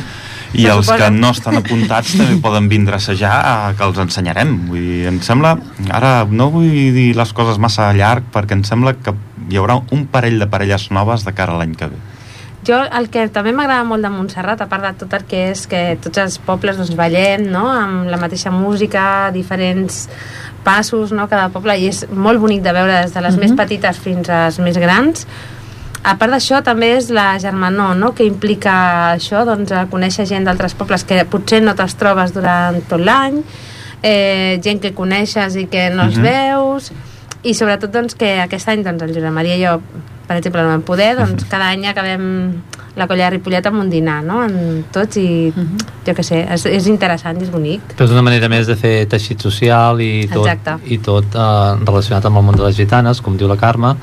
Speaker 2: I
Speaker 1: Però
Speaker 2: els
Speaker 1: suposa-
Speaker 2: que no estan apuntats també poden vindre a assajar, eh, que els ensenyarem. Vull dir, em sembla... Ara no vull dir les coses massa llarg, perquè em sembla que hi haurà un parell de parelles noves de cara a l'any que ve.
Speaker 1: Jo el que també m'agrada molt de Montserrat, a part de tot el que és que tots els pobles doncs, ballem no? amb la mateixa música, diferents passos, no? cada poble, i és molt bonic de veure des de les mm -hmm. més petites fins a les més grans. A part d'això, també és la germanor, no? que implica això, doncs, a conèixer gent d'altres pobles que potser no te'ls trobes durant tot l'any, eh, gent que coneixes i que no els
Speaker 2: Mhm.
Speaker 1: veus, i sobretot doncs, que aquest any doncs, el Josep Maria i jo, per exemple, no vam poder, doncs cada any acabem la colla de Ripollet amb un dinar, no? En tots i,
Speaker 3: Mhm.
Speaker 1: jo què sé, és, és interessant i és bonic.
Speaker 6: Però és una manera més de fer teixit social i tot,
Speaker 1: Exacte.
Speaker 6: i tot eh, relacionat amb el món de les gitanes, com diu la Carme.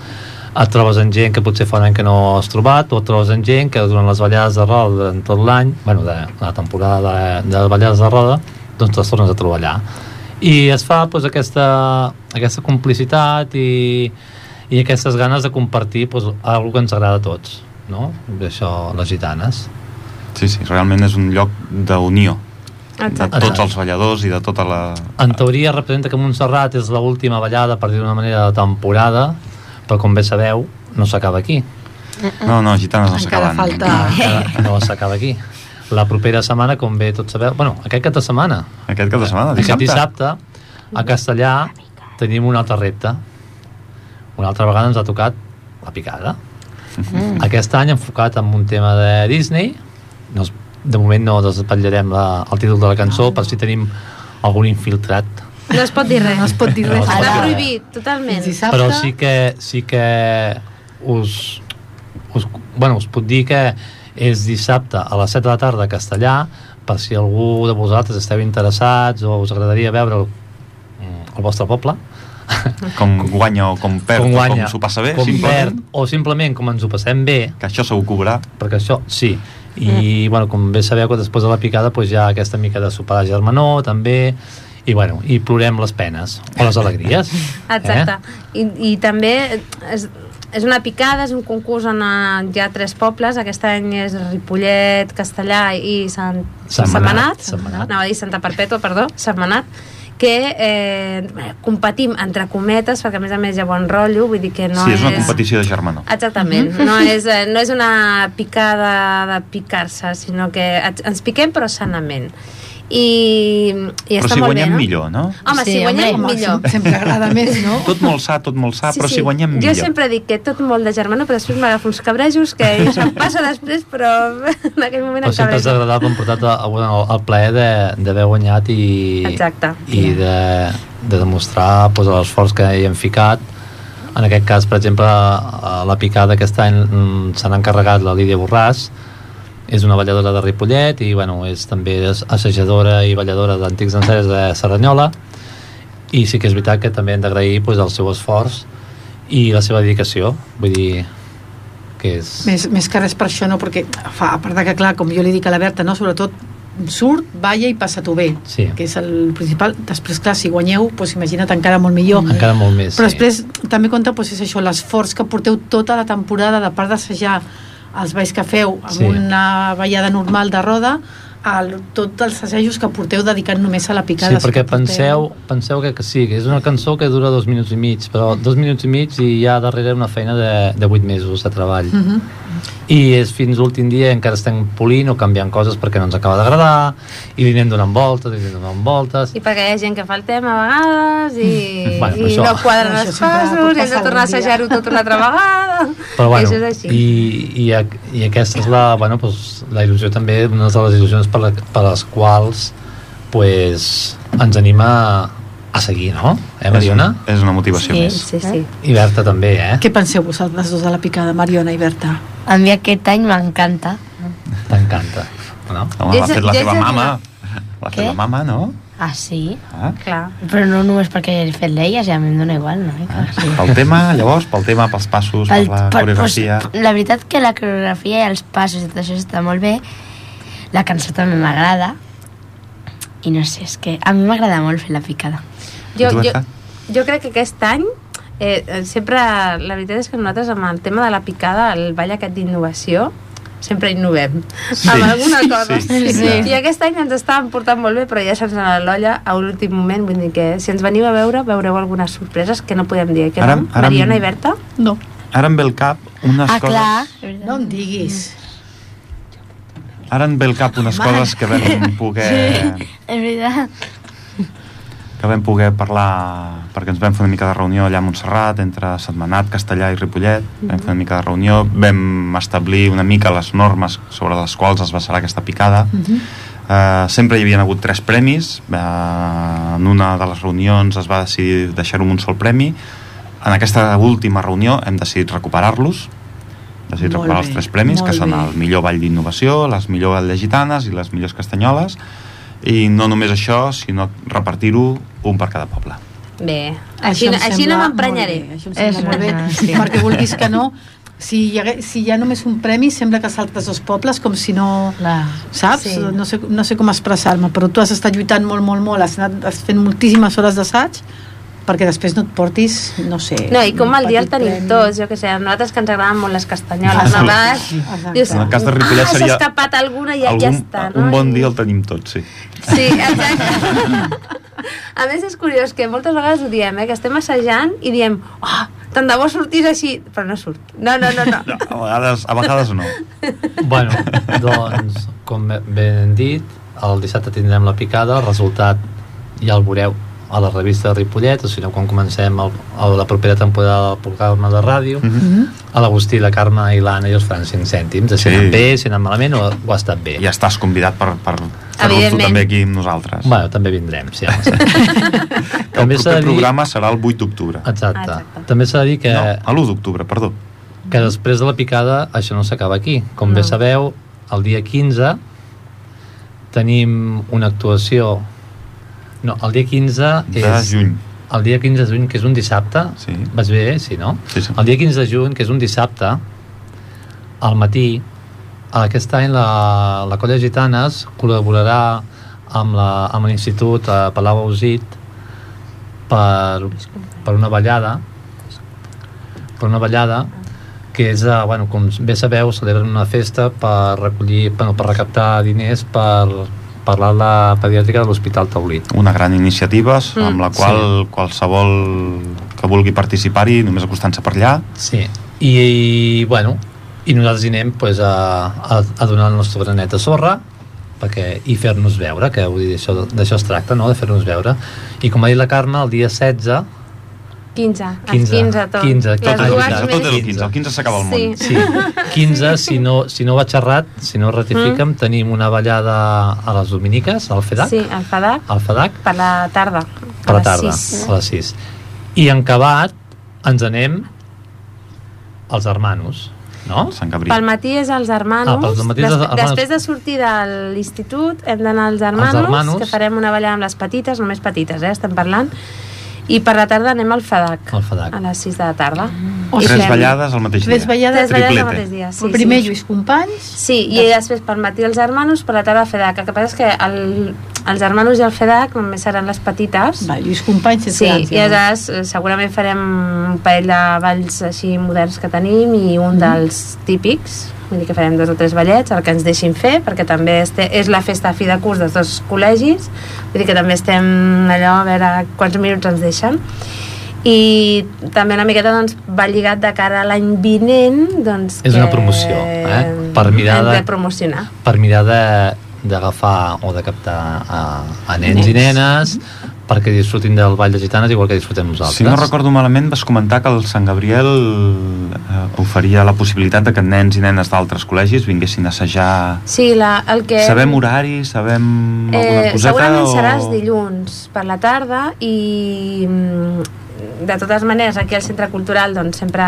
Speaker 6: Et trobes amb gent que potser fa un any que no has trobat, o et trobes amb gent que durant les ballades de roda durant tot l'any, bueno, de, de la temporada de, de ballades de roda, doncs te'ls tornes a trobar allà. I es fa doncs, aquesta, aquesta complicitat i, i aquestes ganes de compartir doncs, alguna que ens agrada a tots, no? Això, les gitanes.
Speaker 2: Sí, sí, realment és un lloc d'unió de
Speaker 1: Exacte.
Speaker 2: tots els balladors i de tota la...
Speaker 6: En teoria representa que Montserrat és l'última ballada, per dir d'una manera, de temporada, però com bé sabeu, no s'acaba aquí.
Speaker 2: No, no, gitanes no
Speaker 3: Encara
Speaker 2: s'acaben. Ah.
Speaker 3: falta...
Speaker 6: Encara No s'acaba aquí. La propera setmana, com bé tots sabeu... Bueno, aquest cap de setmana,
Speaker 2: Aquest cap de setmana,
Speaker 6: aquest
Speaker 2: Ah, dissabte.
Speaker 6: dissabte, a Castellà tenim un altre repte. Una altra vegada ens ha tocat la picada. Mm. Aquest any enfocat en un tema de Disney. No, es- de moment no despatllarem la, el títol de la cançó, per si tenim algun infiltrat
Speaker 1: No es pot dir res.
Speaker 3: No es pot dir res.
Speaker 6: No es pot
Speaker 1: Està
Speaker 6: dir res.
Speaker 1: prohibit, totalment.
Speaker 3: Dissabte...
Speaker 6: però sí que, sí que us, us, bueno, us puc dir que és dissabte a les 7 de la tarda a Castellà per si algú de vosaltres esteu interessats o us agradaria veure el, mm, el vostre poble
Speaker 2: Com guanya o com perd,
Speaker 6: com
Speaker 2: o
Speaker 6: guanya,
Speaker 2: com s'ho passa bé,
Speaker 6: com
Speaker 2: simplement.
Speaker 6: perd, o simplement com ens ho passem bé
Speaker 2: Que això segur que ho veurà.
Speaker 6: perquè això sí i bueno, com bé sabeu que després de la picada doncs, hi ha aquesta mica de sopar de germanor també i, bueno, i plorem les penes o les alegries
Speaker 1: Exacte. Eh? I, I també és, és una picada, és un concurs on eh, hi ha tres pobles. Aquest any és Ripollet, Castellà i Sant...
Speaker 6: Sentmenat.
Speaker 1: Setmanat.
Speaker 6: Sentmenat.
Speaker 1: Anava a dir Santa Perpètua, perdó, Setmanat que eh, bé, competim entre cometes perquè a més a més hi ha bon rotllo vull dir que no
Speaker 2: sí, és una competició Mm-hmm. de germanor.
Speaker 1: Exactament, no és, eh, no és una picada de picar-se, sinó que et- ens piquem però sanament. I, i
Speaker 2: Però
Speaker 1: està
Speaker 2: si
Speaker 1: molt bé,
Speaker 2: guanyem
Speaker 1: no?
Speaker 2: millor, no?
Speaker 1: Home,
Speaker 4: Sí,
Speaker 1: si guanyem
Speaker 4: home,
Speaker 1: millor.
Speaker 3: Sempre agrada més, no?
Speaker 2: Tot molt sa, tot molt
Speaker 6: Ah,
Speaker 2: sa, però si guanyem
Speaker 1: jo
Speaker 2: millor.
Speaker 1: sempre dic que tot molt de germana, però després m'agafo uns cabrejos que això em passa després, però en aquell moment
Speaker 6: Però
Speaker 1: em
Speaker 6: sempre és
Speaker 1: cabrejo.
Speaker 6: agradable hem portat a- a- bueno, el plaer de- d'haver guanyat i,
Speaker 1: Exacte.
Speaker 6: i de, de demostrar pues, l'esforç que hi hem ficat. En aquest cas, per exemple, a la picada aquest any mm, se n'ha encarregat la Lídia Borràs, és una balladora de Ripollet i bueno, és també és assajadora i balladora d'antics encerts de Serranyola i sí que és veritat que també hem d'agrair pues, el seu esforç i la seva dedicació vull dir que és...
Speaker 3: Més, més que res per això, no? Perquè, fa, a part de que, clar, com jo li dic a la Berta, no? Sobretot surt, balla i passa-t'ho bé,
Speaker 6: Sí.
Speaker 3: que és el principal. Després, clar, si guanyeu, doncs imagina't encara molt millor.
Speaker 6: Encara molt més.
Speaker 3: Però després també compta doncs, és això, l'esforç que porteu tota la temporada de part d'assajar els balls que feu amb
Speaker 6: Sí.
Speaker 3: sí. una ballada normal de roda el, tots els assajos que porteu dedicant només a la
Speaker 6: Sí,
Speaker 3: picada.
Speaker 6: perquè penseu, penseu que, que sí, que és una cançó que dura dos minuts i mig, però dos minuts i mig i hi ha darrere una feina de, de vuit mesos de treball.
Speaker 3: Uh
Speaker 1: Mhm.
Speaker 3: -huh.
Speaker 6: I és fins l'últim dia encara estem polint o canviant coses perquè no ens acaba d'agradar, i li anem donant voltes, i li anem donant voltes...
Speaker 1: I perquè hi ha gent que faltem a vegades i,
Speaker 6: Bueno,
Speaker 1: i
Speaker 6: això-
Speaker 1: no quadren
Speaker 3: Això
Speaker 1: els
Speaker 3: sempre pot
Speaker 1: passos, i
Speaker 3: passar
Speaker 1: hem de tornar a
Speaker 3: algun dia.
Speaker 1: assajar-ho tot una altra vegada.
Speaker 6: Però bueno,
Speaker 1: això és així.
Speaker 6: i, i, ac- i aquesta és la, bueno, pues, la il·lusió també, una de les il·lusions per, la, per les quals pues, ens anima a, a seguir, no? Eh,
Speaker 2: És,
Speaker 6: Mariona?
Speaker 2: una, és una motivació
Speaker 4: Sí.
Speaker 2: més.
Speaker 1: Sí, sí.
Speaker 6: I Berta també, eh?
Speaker 3: Què penseu vosaltres dos de la picada, Mariona i Berta?
Speaker 4: A mi aquest any m'encanta.
Speaker 6: T'encanta, no?
Speaker 2: Home,
Speaker 1: Jo
Speaker 2: l'ha
Speaker 1: ja-
Speaker 2: fet la
Speaker 1: jo
Speaker 2: teva
Speaker 1: ja-
Speaker 2: mama. L'ha
Speaker 4: Què?
Speaker 2: fet la mama, no?
Speaker 4: Ah, sí?
Speaker 2: Ah.
Speaker 1: Clar.
Speaker 4: Però no només perquè he fet l'elles, ja em dóna igual, no?
Speaker 2: Ah, pel tema, llavors, pel tema, pels passos, per, la coreografia...
Speaker 4: pues, la veritat que la coreografia i els passos i tot això està molt bé. La cançó també m'agrada. I no sé, és que a mi m'agrada molt fer la picada.
Speaker 1: Jo,
Speaker 2: Tu,
Speaker 6: Doncs
Speaker 1: jo,
Speaker 2: Berta?
Speaker 1: jo crec que aquest any eh, eh, sempre, la veritat és que nosaltres amb el tema de la picada, el ball aquest d'innovació, sempre innovem
Speaker 2: Sí,
Speaker 1: amb alguna cosa.
Speaker 2: sí, sí.
Speaker 1: I aquest any ens estàvem portant molt bé, però ja se'ns anava l'olla a l'últim moment. Vull dir que si ens veniu a veure, veureu algunes sorpreses que no podem dir. eh, Que
Speaker 2: Ara-
Speaker 1: no?
Speaker 2: ara-
Speaker 1: Mariona i Berta?
Speaker 5: No.
Speaker 2: Ara em ve el cap unes
Speaker 4: ah,
Speaker 2: coses...
Speaker 4: clar.
Speaker 3: No em diguis.
Speaker 2: Ara em ve el cap unes coses que vam poder...
Speaker 4: És veritat.
Speaker 2: que vam poder parlar, perquè ens vam fer una mica de reunió allà a Montserrat, entre Setmanat, Castellà i Ripollet, vam fer una mica de reunió, vam establir una mica les normes sobre les quals es basarà aquesta picada. Uh, sempre hi havia hagut tres premis, uh, en una de les reunions es va decidir deixar-ho amb un sol premi, en aquesta última reunió hem decidit recuperar-los, decidit
Speaker 3: Molt
Speaker 2: recuperar els
Speaker 3: bé,
Speaker 2: tres premis, que
Speaker 3: molt
Speaker 2: són
Speaker 3: bé.
Speaker 2: el millor ball d'innovació, les millors balles gitanes i les millors castanyoles, i no només això, sinó repartir-ho un per cada poble.
Speaker 1: Bé,
Speaker 3: Això
Speaker 1: així,
Speaker 3: em
Speaker 1: no- així no
Speaker 3: sembla
Speaker 1: m'emprenyaré.
Speaker 3: molt bé, Això em sembla
Speaker 4: És
Speaker 3: molt bé,
Speaker 4: veritat,
Speaker 3: sí. perquè vulguis que no, si hi, hagués, si hi ha només un premi, sembla que saltes dos pobles com si no...
Speaker 5: La...
Speaker 3: saps?
Speaker 1: Sí.
Speaker 3: Sí. No, sé, no sé com expressar-me, però tu has estat lluitant molt, molt, molt, has anat has fent moltíssimes hores d'assaig perquè després no et portis, no sé...
Speaker 1: No, i com
Speaker 3: un
Speaker 1: el dia el
Speaker 3: petit
Speaker 1: tenim
Speaker 3: premi.
Speaker 1: tots, jo que sé, a nosaltres que ens agraden molt les castanyoles, no vas...
Speaker 3: Exacte.
Speaker 1: Dius,
Speaker 2: Ah, En el cas de Ripollet
Speaker 1: ah, s'ha
Speaker 2: seria
Speaker 1: escapat alguna i ja, ja està, no?
Speaker 2: un bon
Speaker 1: I-
Speaker 2: dia el tenim tots, sí.
Speaker 1: Sí, exacte. A més, és curiós que moltes vegades ho diem, eh, que estem assajant i diem oh, tant de bo sortís així, però no surt. No, no, no, no.
Speaker 2: No, a, vegades, a vegades no.
Speaker 6: Bueno, doncs, com ben dit, el dissabte tindrem la picada, el resultat ja el veureu a la revista de Ripollet, o si no, quan comencem el, el, la propera temporada del programa de ràdio,
Speaker 2: Mhm.
Speaker 6: mm -hmm. a l'Agustí, la Carme i l'Anna i els faran 5 cèntims, de
Speaker 2: Sí.
Speaker 6: si sí. anat bé, si ha anat malament o, o ha estat bé.
Speaker 2: I ja estàs convidat per, per fer-ho tu
Speaker 1: Evidentment.
Speaker 2: també aquí amb nosaltres.
Speaker 6: Bueno, també vindrem, sí. home, sí.
Speaker 2: que el
Speaker 6: s'ha de
Speaker 2: proper programa serà el 8 d'octubre.
Speaker 6: Exacte.
Speaker 1: Exacte.
Speaker 6: Exacte. També s'ha de dir que...
Speaker 2: No, a l'1 d'octubre, perdó.
Speaker 6: que després de la picada això no s'acaba aquí. Com no. bé
Speaker 1: No.
Speaker 6: sabeu, el dia 15 tenim una actuació... No, el dia 15
Speaker 2: De
Speaker 6: és...
Speaker 2: juny.
Speaker 6: El dia 15 de juny, que és un dissabte,
Speaker 2: Sí.
Speaker 6: vas bé, eh? sí, no?
Speaker 2: Sí, sí.
Speaker 6: El dia 15 de juny, que és un dissabte, al matí, aquest any la, la Colla Gitanes col·laborarà amb la- amb l'Institut a Palau Ausit per, per una ballada per una ballada que és, eh, bueno, com bé sabeu, celebren una festa per recollir, bueno, per recaptar diners per, per l'ala pediàtrica de l'Hospital Taulí.
Speaker 2: Una gran iniciativa amb la
Speaker 6: Mm,
Speaker 2: qual qualsevol que vulgui participar-hi, només acostant-se per allà,
Speaker 6: Sí, i, i bueno, i nosaltres hi anem pues, a, a, a donar el nostre granet de sorra perquè, i fer-nos veure, que vull dir, això- d'això es tracta, no?, de fer-nos veure. I com ha dit la Carme, el dia 16,
Speaker 1: 15,
Speaker 6: 15,
Speaker 1: els 15 tot.
Speaker 6: 15,
Speaker 1: Les
Speaker 6: tot és
Speaker 1: dues
Speaker 6: veritat.
Speaker 1: més...
Speaker 2: Tot és el 15, el 15 s'acaba el món.
Speaker 1: Sí.
Speaker 6: sí, 15, si no, si no va xerrat, si no ratifiquem, mm. tenim una ballada a les Dominiques, al FEDAC,
Speaker 1: Sí, el FADAC,
Speaker 6: al FEDAC,
Speaker 1: per la tarda.
Speaker 6: eh? per la tarda, a les eh? 6. I en acabat ens anem als hermanos, no?
Speaker 2: Sant
Speaker 1: Pel
Speaker 2: Gabriel.
Speaker 1: matí és els hermanos.
Speaker 6: Ah, pels matins
Speaker 1: Des-
Speaker 6: els hermanos.
Speaker 1: Després de sortir de l'institut hem d'anar als hermanos,
Speaker 6: hermanos.
Speaker 1: que farem una ballada amb les petites, només petites, eh, estem parlant. I per la tarda anem al FADAC,
Speaker 6: Al FADAC.
Speaker 1: a les 6 de la tarda.
Speaker 3: O
Speaker 1: I
Speaker 2: Tres
Speaker 1: fem
Speaker 2: ballades al mateix dia.
Speaker 3: Tres ballades,
Speaker 1: Tres ballades al
Speaker 2: Triplete.
Speaker 1: mateix dia.
Speaker 3: Sí,
Speaker 1: Sí,
Speaker 3: primer
Speaker 1: sí.
Speaker 3: Lluís Companys,
Speaker 1: Sí, i després pel matí els hermanos, per la tarda el FEDAC. El que passa és que el, els hermanos i el FEDAC només seran les petites.
Speaker 3: va, Lluís Companys és
Speaker 1: Sí,
Speaker 3: gran,
Speaker 1: i aleshores eh, segurament farem un parell de balls així moderns que tenim i un dels típics, vull dir que farem dos o tres ballets, el que ens deixin fer, perquè també este, és la festa a fi de curs dels dos col·legis, vull dir que també estem allò a veure quants minuts ens deixen i també una miqueta doncs, va lligat de cara a l'any vinent doncs,
Speaker 6: És una
Speaker 1: que
Speaker 6: promoció, eh? Per mirada-
Speaker 1: hem de promocionar
Speaker 6: per mirar de- d'agafar o de captar a, a nens, i nenes perquè disfrutin del Ball de Gitanes igual que disfrutem nosaltres.
Speaker 2: Si no recordo malament, vas comentar que el Sant Gabriel eh, oferia la possibilitat de que nens i nenes d'altres col·legis vinguessin a assajar...
Speaker 1: Sí, la, el que...
Speaker 2: Sabem horari, sabem alguna
Speaker 1: Eh,
Speaker 2: coseta?
Speaker 1: segurament
Speaker 2: o...
Speaker 1: serà els dilluns per la tarda i mm, de totes maneres aquí al centre cultural doncs sempre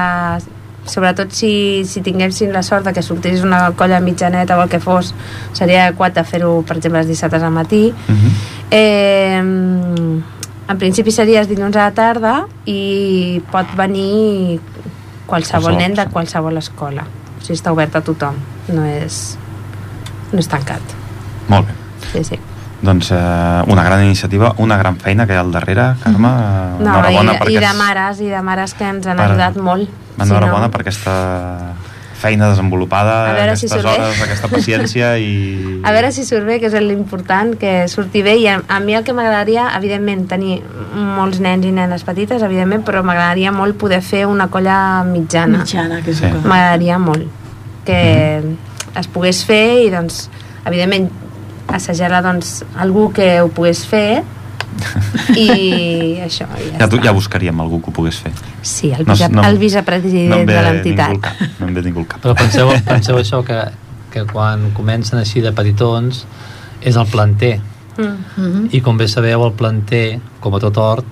Speaker 1: sobretot si, si tinguéssim la sort de que sortís una colla mitjaneta o el que fos seria adequat de fer-ho per exemple els dissabtes al matí
Speaker 2: Uh -huh.
Speaker 1: eh, en principi seria els dilluns a la tarda i pot venir qualsevol
Speaker 2: Qualsevol
Speaker 1: nen de
Speaker 2: persona.
Speaker 1: qualsevol escola o sigui, està obert a tothom no és, no és tancat
Speaker 2: Molt bé.
Speaker 1: sí, sí.
Speaker 2: Doncs eh, una gran iniciativa, una gran feina que hi ha al darrere, Carme. eh,
Speaker 1: Mm-hmm. No,
Speaker 2: enhorabona
Speaker 1: i,
Speaker 2: per
Speaker 1: i de
Speaker 2: aquest-
Speaker 1: mares, i de mares que ens han
Speaker 2: per-
Speaker 1: ajudat molt.
Speaker 2: Enhorabona per aquesta feina desenvolupada,
Speaker 1: A veure si
Speaker 2: aquestes
Speaker 1: surt bé.
Speaker 2: hores, aquesta paciència i...
Speaker 1: A veure si surt bé, que és l'important, que surti bé. I a, a mi el que m'agradaria, evidentment, tenir molts nens i nenes petites, evidentment, però m'agradaria molt poder fer una colla mitjana.
Speaker 3: mitjana, que és
Speaker 2: Sí.
Speaker 3: el que...
Speaker 1: M'agradaria molt que
Speaker 2: Mhm.
Speaker 1: es pogués fer i, doncs, evidentment, assajar-la, doncs, algú que ho pogués fer i això, i ja,
Speaker 2: Ja, tu,
Speaker 1: està.
Speaker 2: ja buscaríem algú que ho pogués fer.
Speaker 1: Sí, el,
Speaker 2: No,
Speaker 1: vice,
Speaker 2: no-
Speaker 1: el vicepresident
Speaker 2: no em ve
Speaker 1: de
Speaker 2: ningú al
Speaker 1: l'entitat.
Speaker 2: cap. No em ve ningú al cap.
Speaker 6: Però penseu, penseu això, que, que quan comencen així de petitons és el planter.
Speaker 1: Mm.
Speaker 3: Mhm.
Speaker 6: I com bé sabeu, el planter, com a tot hort,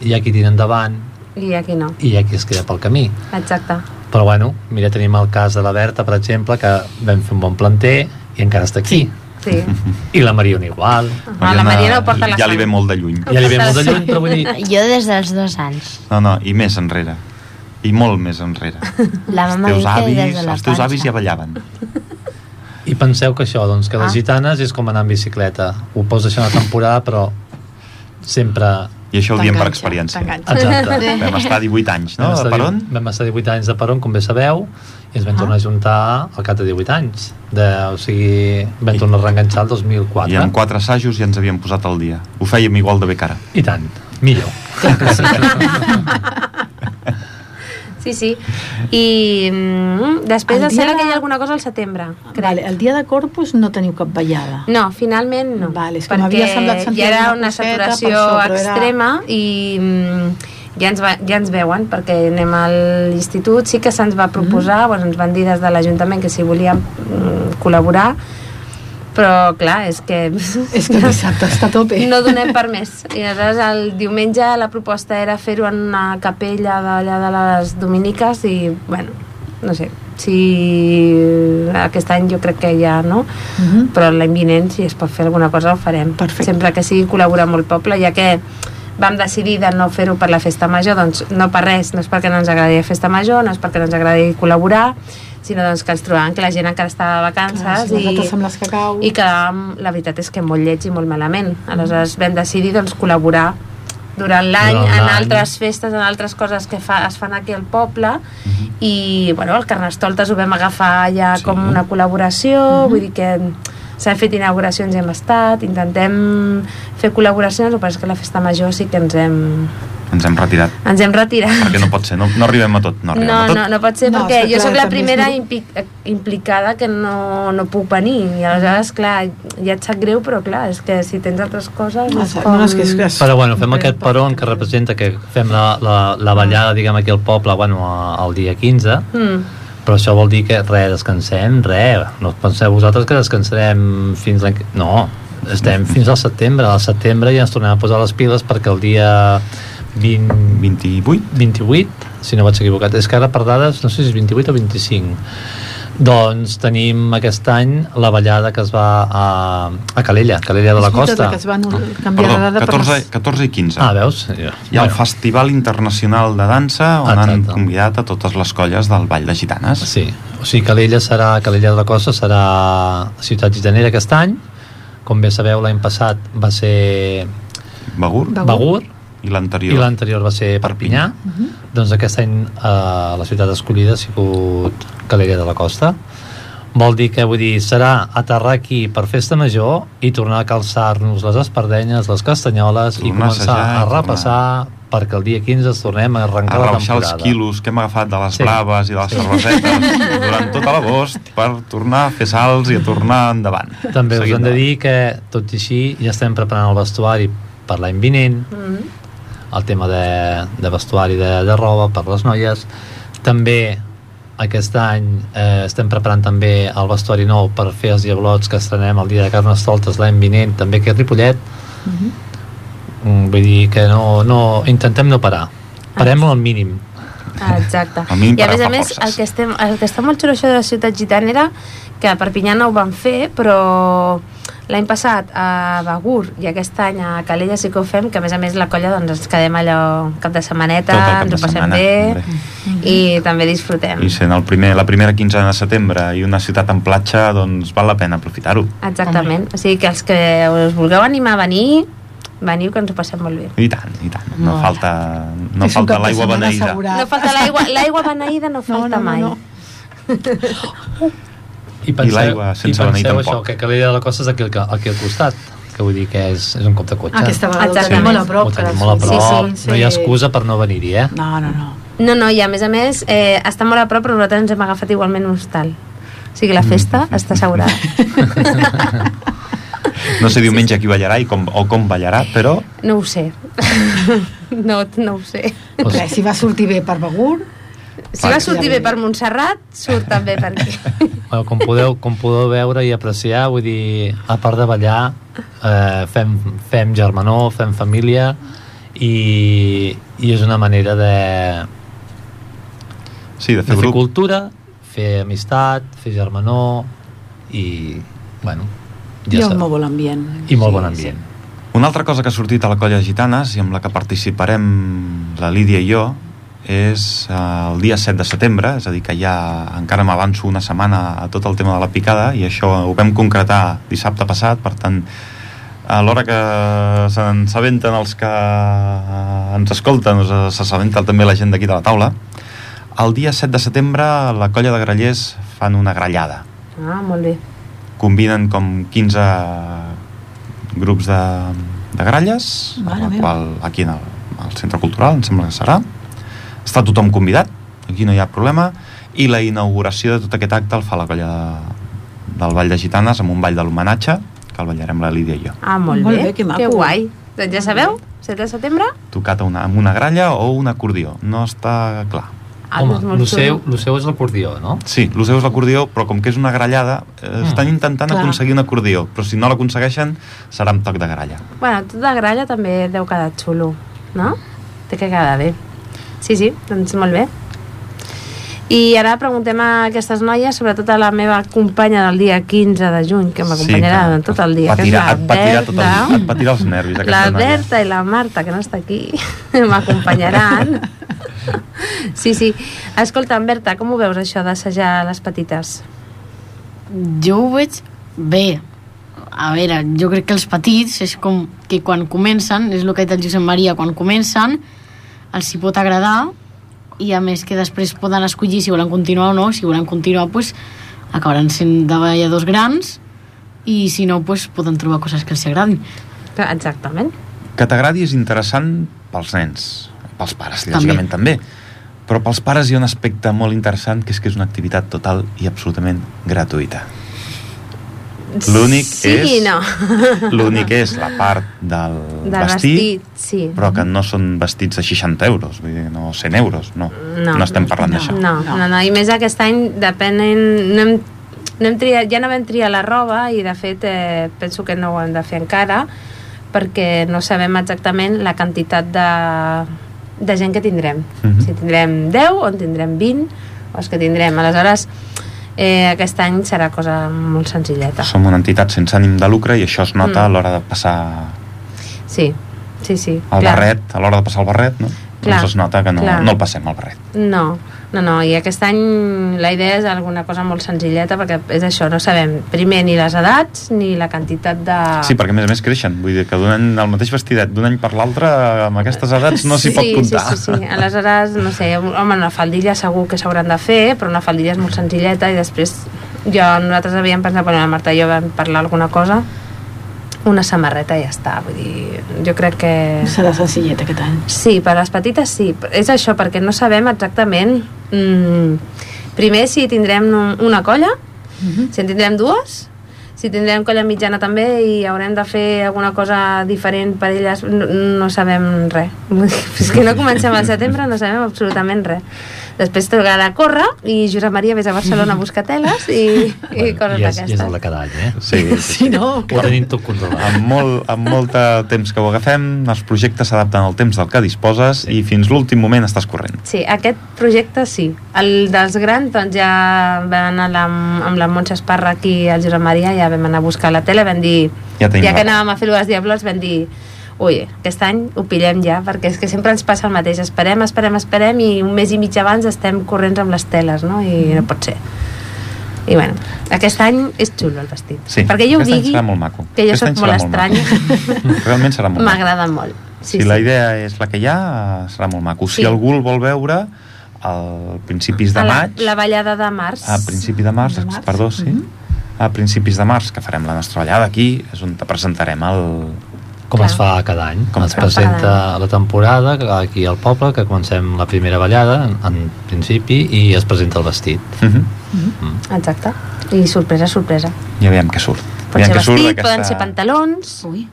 Speaker 6: hi ha qui tira endavant
Speaker 1: I aquí no,
Speaker 6: i hi ha qui es queda pel camí.
Speaker 1: exacte.
Speaker 6: Però bueno, mira, tenim el cas de la Berta, per exemple, que vam fer un bon planter i encara està aquí.
Speaker 1: Sí.
Speaker 6: I la Mariona igual.
Speaker 1: Ah, la Mariona ho porta a la
Speaker 2: Ja li
Speaker 1: sang.
Speaker 2: ve molt de lluny.
Speaker 6: Ja li ve molt de lluny, però vull dir,
Speaker 4: Jo des dels dos anys.
Speaker 2: No, no, i més enrere. I molt més enrere.
Speaker 4: La
Speaker 2: Els
Speaker 4: mama diu
Speaker 2: teus
Speaker 4: que des
Speaker 2: avis,
Speaker 4: de la
Speaker 2: els teus
Speaker 4: panxa.
Speaker 2: avis ja ballaven.
Speaker 6: I penseu que això, doncs, que les
Speaker 1: Ah.
Speaker 6: gitanes és com anar en bicicleta. Ho pots deixar una temporada, però sempre...
Speaker 2: I això ho diem per
Speaker 3: T'enganxa,
Speaker 2: experiència.
Speaker 3: t'enganxa.
Speaker 6: Exacte.
Speaker 2: Vam estar 18 anys, no?
Speaker 6: Vam estar
Speaker 2: Per on?
Speaker 6: divu- Vam estar 18 anys de Peron, com bé sabeu, i ens vam tornar a juntar al cap de 18 anys. De, o sigui, vam tornar a reenganxar el 2004.
Speaker 2: I en quatre assajos ja ens havíem posat al dia. Ho fèiem igual de bé cara.
Speaker 6: I tant, millor.
Speaker 1: Sí, sí. I mm, després
Speaker 3: El
Speaker 1: em sembla
Speaker 3: dia
Speaker 1: que
Speaker 3: de-
Speaker 1: hi ha alguna cosa al setembre. crec.
Speaker 3: Vale, el dia de Corpus no teniu cap ballada.
Speaker 1: No, finalment no.
Speaker 3: Vale, és que
Speaker 1: perquè
Speaker 3: m'havia semblat sentir
Speaker 1: ja era una
Speaker 3: alguna coseta per
Speaker 1: saturació
Speaker 3: això, però era-
Speaker 1: extrema i mm, ja ens, va, ja ens veuen perquè anem a l'institut. Sí que se'ns va
Speaker 3: Mhm.
Speaker 1: proposar, mm. bueno, ens van dir des de l'Ajuntament que si volíem mm, col·laborar, però clar, és que...
Speaker 3: És que dissabte està a tope.
Speaker 1: No donem per més. I aleshores el diumenge la proposta era fer-ho en una capella d'allà de les Dominiques i, bueno, no sé, si aquest any jo crec que ja no,
Speaker 3: Mhm.
Speaker 1: però l'any vinent si es pot fer alguna cosa ho farem.
Speaker 3: Perfecte.
Speaker 1: Sempre que sigui col·laborar amb el poble, ja que vam decidir de no fer-ho per la festa major, doncs no per res, no és perquè no ens agradi la festa major, no és perquè no ens agradi col·laborar, sinó doncs que ens trobàvem que la gent encara estava de vacances
Speaker 3: Clar, si les
Speaker 1: i
Speaker 3: dates amb les que cau...
Speaker 1: i quedàvem, la veritat és que molt lleig i molt malament. Aleshores vam decidir doncs, col·laborar durant l'any
Speaker 6: Durant
Speaker 1: en
Speaker 6: l'any.
Speaker 1: altres festes, en altres coses que fa, es fan aquí al poble
Speaker 6: Mhm.
Speaker 1: i bueno, el Carnestoltes ho vam agafar ja
Speaker 2: Sí.
Speaker 1: sí. com una col·laboració,
Speaker 6: Mhm.
Speaker 1: vull dir que s'han fet inauguracions i hem estat, intentem fer col·laboracions, però és que la festa major sí que ens hem,
Speaker 2: Ens hem retirat.
Speaker 1: ens hem retirat.
Speaker 2: Perquè no pot ser, no, no arribem a tot. No, arribem a
Speaker 1: No,
Speaker 2: tot.
Speaker 1: no, no pot ser,
Speaker 3: No,
Speaker 1: no, perquè
Speaker 3: està
Speaker 1: jo
Speaker 3: clar,
Speaker 1: sóc la
Speaker 3: també és
Speaker 1: primera
Speaker 3: dur.
Speaker 1: impi eh, implicada que no, no puc venir. I aleshores, clar, ja et sap greu, però clar, és que si tens altres coses...
Speaker 3: Ah,
Speaker 1: és
Speaker 3: no,
Speaker 1: com...
Speaker 3: no, és que és, que és...
Speaker 6: Però bueno, fem aquest peron que representa que fem la, la, la ballada, diguem, aquí al poble, bueno, a- el dia 15,
Speaker 1: Mm.
Speaker 6: però això vol dir que res, descansem, res. No penseu vosaltres que descansarem fins l'any... que- No, estem fins al setembre. Al setembre ja ens tornem a posar les piles perquè el dia 20,
Speaker 2: 28?
Speaker 6: 28, si no vaig equivocat, és que ara per dades, no sé si és 28 o 25, Doncs tenim aquest any la ballada que es va a, a Calella, Calella de la
Speaker 3: És veritat
Speaker 6: Costa.
Speaker 3: Que es van canviar de
Speaker 2: Perdó,
Speaker 3: dada
Speaker 2: 14,
Speaker 3: per...
Speaker 2: 14 i 15.
Speaker 6: Ah, veus? Ja.
Speaker 2: Hi ha el Festival Internacional de Dansa on han
Speaker 6: Exacte.
Speaker 2: convidat a totes les colles del Vall de Gitanes.
Speaker 6: Sí, o sigui, Calella serà, Calella de la Costa serà ciutat gitanera aquest any. Com bé sabeu, l'any passat va ser
Speaker 2: Begur
Speaker 6: Begur
Speaker 2: i
Speaker 6: i
Speaker 2: l'anterior.
Speaker 6: l'anterior va ser Perpinyà. Doncs aquest any eh, la ciutat escollida ha sigut Calella de la Costa. Vol dir que, vull dir, serà aterrar aquí per festa major i tornar a calçar-nos les espardenyes, les castanyoles i
Speaker 2: Tornar a
Speaker 6: començar
Speaker 2: assajar i
Speaker 6: a
Speaker 2: tornar.
Speaker 6: rebaixar perquè el dia 15 ens tornem a
Speaker 2: a
Speaker 6: arrencar la
Speaker 2: rebaixar els
Speaker 6: temporada.
Speaker 2: quilos que hem agafat de les
Speaker 6: Sí.
Speaker 2: sí. braves i de les
Speaker 6: Sí.
Speaker 2: sí. cervesetes durant tot l'agost per tornar a fer salts i a tornar endavant.
Speaker 6: També us
Speaker 2: Seguim
Speaker 6: hem de
Speaker 2: endavant.
Speaker 6: dir que, tot i així, ja estem preparant el vestuari per l'any vinent, mm -hmm. el tema de, de vestuari de, de roba per les noies. També aquest any eh, estem preparant també el vestuari nou per fer els diablots que estrenem el dia de Carnestoltes l'any vinent, també aquí a Ripollet. Mm -hmm. Vull dir que no, no, intentem no parar. Parem al mínim.
Speaker 1: Ah, Exacte.
Speaker 2: A mi em
Speaker 1: I a més
Speaker 2: parava
Speaker 1: a més,
Speaker 2: forces.
Speaker 1: el que, estem, el que està molt xulo això de la ciutat gitanera, que a Perpinyà no ho van fer, però l'any passat a Begur i aquest any a Calella sí que ho fem, que a més a més la colla doncs ens quedem allò cap de setmaneta,
Speaker 2: Tot el cap
Speaker 1: ens
Speaker 2: de
Speaker 1: ho passem
Speaker 2: setmana,
Speaker 1: bé
Speaker 2: hombre.
Speaker 3: Mm.
Speaker 1: i també disfrutem.
Speaker 2: I sent el primer, la primera quinzena de setembre i una ciutat en platja, doncs val la pena aprofitar-ho.
Speaker 1: Exactament. O sigui que els que us vulgueu animar a venir, veniu que ens ho passem molt bé.
Speaker 2: I tant, i tant. No,
Speaker 5: Molt
Speaker 2: falta, no
Speaker 3: És un
Speaker 2: falta
Speaker 3: cap de
Speaker 2: l'aigua
Speaker 3: setmana
Speaker 2: beneïda.
Speaker 3: assegurat.
Speaker 1: No falta l'aigua, l'aigua beneïda no
Speaker 3: No,
Speaker 1: falta
Speaker 3: no, no,
Speaker 1: mai.
Speaker 3: no.
Speaker 6: I penseu,
Speaker 2: l'aigua sense
Speaker 6: i
Speaker 2: beneir
Speaker 6: penseu
Speaker 2: tampoc.
Speaker 6: això, que Calella de la Costa és aquí, al- aquí al costat, que vull dir que és, és un cop de cotxe.
Speaker 3: Aquesta vegada ho
Speaker 1: Exactament.
Speaker 3: tenim molt a prop.
Speaker 6: Ho tenim
Speaker 3: que
Speaker 6: molt a
Speaker 1: Sí,
Speaker 6: prop,
Speaker 1: sí,
Speaker 6: no hi ha excusa per no venir-hi, eh?
Speaker 3: No, no, no.
Speaker 1: No, no, i a més a més, eh, està molt a prop, però nosaltres ens hem agafat igualment un hostal. O sigui, la festa
Speaker 3: Mm.
Speaker 1: està assegurada.
Speaker 2: No sé diumenge qui ballarà i com, o com ballarà, però
Speaker 1: No ho sé. No, no ho sé.
Speaker 6: O
Speaker 3: Res, si va sortir bé per Begur,
Speaker 1: Si va sortir bé per Montserrat, surt també per aquí.
Speaker 6: Bueno, eh, com, podeu, com podeu veure i apreciar, vull dir, a part de ballar, eh, fem, fem germanor, fem família i, i és una manera de,
Speaker 2: sí, de
Speaker 6: de
Speaker 2: fer
Speaker 6: fer
Speaker 2: grup.
Speaker 6: cultura, fer amistat, fer germanor i, bueno,
Speaker 3: hi
Speaker 6: ja
Speaker 3: ha un
Speaker 6: està.
Speaker 3: molt bon ambient.
Speaker 6: I molt bon ambient.
Speaker 2: Una altra cosa que ha sortit a la colla de Gitanes i amb la que participarem la Lídia i jo és eh, el dia 7 de setembre, és a dir que ja encara m'avanço una setmana a tot el tema de la picada i això ho vam concretar dissabte passat, per tant a l'hora que se'n sabenten els que eh, ens escolten, doncs, eh, se sabenta també la gent d'aquí de la taula. El dia 7 de setembre la colla de grallers fan una grallada
Speaker 1: Ah, molt bé.
Speaker 2: combinen com 15 grups de, de gralles,
Speaker 3: Mare
Speaker 2: la
Speaker 3: meva.
Speaker 2: qual aquí en el, al Centre Cultural, em sembla que serà. Està tothom convidat, aquí no hi ha problema, i la inauguració de tot aquest acte el fa la colla de, del Vall de Gitanes amb un ball de l'homenatge, que el ballarem la Lídia i jo.
Speaker 1: Ah, molt,
Speaker 3: Molt
Speaker 1: bé.
Speaker 3: bé, que maco.
Speaker 1: Que guai. Doncs ja sabeu, 7 de setembre,
Speaker 2: Tocat a una, amb una gralla o un acordió, no està clar.
Speaker 1: ah,
Speaker 6: Home,
Speaker 1: doncs molt
Speaker 6: lo seu,
Speaker 1: xulo.
Speaker 6: lo seu és l'acordió, no?
Speaker 2: Sí, el seu és l'acordió, però com que és una grallada, eh, estan intentant
Speaker 3: Mm. Clar.
Speaker 2: aconseguir un acordió, però si no l'aconsegueixen, serà amb toc de gralla.
Speaker 1: Bueno, tot de gralla també deu quedar xulo, no? Té que quedar bé. Sí, sí, doncs molt bé. I ara preguntem a aquestes noies, sobretot a la meva companya del dia 15 de juny, que m'acompanyarà durant tot el dia,
Speaker 2: patirà,
Speaker 1: que és
Speaker 2: et
Speaker 1: la
Speaker 2: patirà tot
Speaker 1: Berta.
Speaker 2: el, et patirà els nervis
Speaker 1: La
Speaker 2: aquesta noia.
Speaker 1: Berta i la Marta, que no està aquí, m'acompanyaran. Sí, sí. Escolta'm, Berta, com ho veus, això d'assajar les petites?
Speaker 5: Jo ho veig bé. A veure, jo crec que els petits és com que quan comencen, és el que ha dit el Josep Maria, quan comencen els hi pot agradar i a més que després poden escollir si volen continuar o no, si volen continuar doncs, acabaran sent davalladors grans i si no doncs, poden trobar coses que els agradin.
Speaker 1: Exactament.
Speaker 2: Que t'agradi és interessant pels nens, pels pares,
Speaker 5: També.
Speaker 2: lògicament també. Però pels pares hi ha un aspecte molt interessant, que és que és una activitat total i absolutament gratuïta. L'únic
Speaker 1: sí
Speaker 2: és...
Speaker 1: i no.
Speaker 2: L'únic és la part del,
Speaker 1: Del
Speaker 2: vestit,
Speaker 1: vestit, sí.
Speaker 2: però que no són vestits de 60 euros, vull dir, no 100 euros, no.
Speaker 1: No.
Speaker 2: estem parlant d'això.
Speaker 1: No, no, no, i més aquest any depenent... No hem, no hem triat, ja no vam triar la roba i de fet eh, penso que no ho hem de fer encara perquè no sabem exactament la quantitat de, de gent que tindrem.
Speaker 2: Mhm.
Speaker 1: Si tindrem 10 o en tindrem 20 o els que tindrem. Aleshores, eh, aquest any serà cosa molt senzilleta.
Speaker 2: Som una entitat sense ànim de lucre i això es nota mm. a l'hora de passar
Speaker 1: Sí, sí, sí.
Speaker 2: el clar. barret, a l'hora de passar el barret, no?
Speaker 1: Clar,
Speaker 2: doncs es nota que no,
Speaker 1: clar.
Speaker 2: no el passem, el barret.
Speaker 1: No, no, no, i aquest any la idea és alguna cosa molt senzilleta perquè és això, no sabem primer ni les edats ni la quantitat de...
Speaker 2: Sí, perquè a més a més creixen, vull dir que d'un any, el mateix vestidet d'un any per l'altre, amb aquestes edats no s'hi pot
Speaker 1: Eh, sí,
Speaker 2: comptar.
Speaker 1: Sí, sí, sí, aleshores, no sé, home, una faldilla segur que s'hauran de fer, però una faldilla és molt senzilleta i després jo, nosaltres havíem pensat, bueno, la Marta i jo vam parlar alguna cosa, una samarreta i ja està, vull dir, jo crec que...
Speaker 3: Serà senzillet aquest any.
Speaker 1: Sí, per les petites sí. És això, perquè no sabem exactament... Mm, primer, si tindrem un- una colla, si en tindrem dues, si tindrem colla mitjana també i haurem de fer alguna cosa diferent per elles, no, no sabem res. Fins que no comencem al setembre no sabem absolutament res. Després tocarà córrer i Josep Maria vés a Barcelona a buscar teles i, i coses
Speaker 6: I és, i és el
Speaker 1: d'aquestes.
Speaker 6: de cada any, eh?
Speaker 2: Sí, sí, sí.
Speaker 3: no?
Speaker 6: Ho tenim tot controlat.
Speaker 2: Amb, molt, amb molt de temps que ho agafem, els projectes s'adapten al temps del que disposes i fins l'últim moment estàs corrent.
Speaker 1: Sí, aquest projecte sí. El dels grans, doncs ja vam anar la, amb la Montse Esparra aquí al Josep Maria, ja vam anar a buscar la tele, vam dir...
Speaker 2: Ja tenim
Speaker 1: ja que
Speaker 2: la-
Speaker 1: anàvem a fer les diablos, vam dir... Ui, aquest any ho pillem ja, perquè és que sempre ens passa el mateix. Esperem, esperem, esperem, i un mes i mig abans estem corrents amb les teles, no? I no pot ser. I bueno, aquest any és xulo el vestit.
Speaker 2: Sí,
Speaker 1: perquè jo ho
Speaker 2: aquest any
Speaker 1: digui,
Speaker 2: serà molt maco.
Speaker 1: que jo
Speaker 2: Aquest any
Speaker 1: soc molt
Speaker 2: serà molt
Speaker 1: estranya,
Speaker 2: Realment serà molt maco.
Speaker 1: m'agrada molt.
Speaker 2: Sí, si sí. la idea és la que hi ha, eh, serà molt maco. Sí.
Speaker 1: Sí.
Speaker 2: Si algú el vol veure, a principis de
Speaker 1: A la,
Speaker 2: maig...
Speaker 1: la ballada de març.
Speaker 2: A principi de març,
Speaker 3: De març.
Speaker 2: perdó, sí.
Speaker 3: Mhm.
Speaker 2: A principis de març, que farem la nostra ballada aquí, és on te presentarem el...
Speaker 6: Com
Speaker 1: Clar.
Speaker 6: es fa cada any.
Speaker 2: Com
Speaker 6: Com es
Speaker 2: es fa
Speaker 1: cada
Speaker 6: presenta la temporada que aquí al poble, que comencem la primera ballada, en, en principi, i es presenta el vestit.
Speaker 2: Uh -huh.
Speaker 1: Exacte. I sorpresa, sorpresa.
Speaker 2: I aviam què surt.
Speaker 1: Pot ser
Speaker 2: què
Speaker 1: vestit, poden ser pantalons...
Speaker 5: Ui,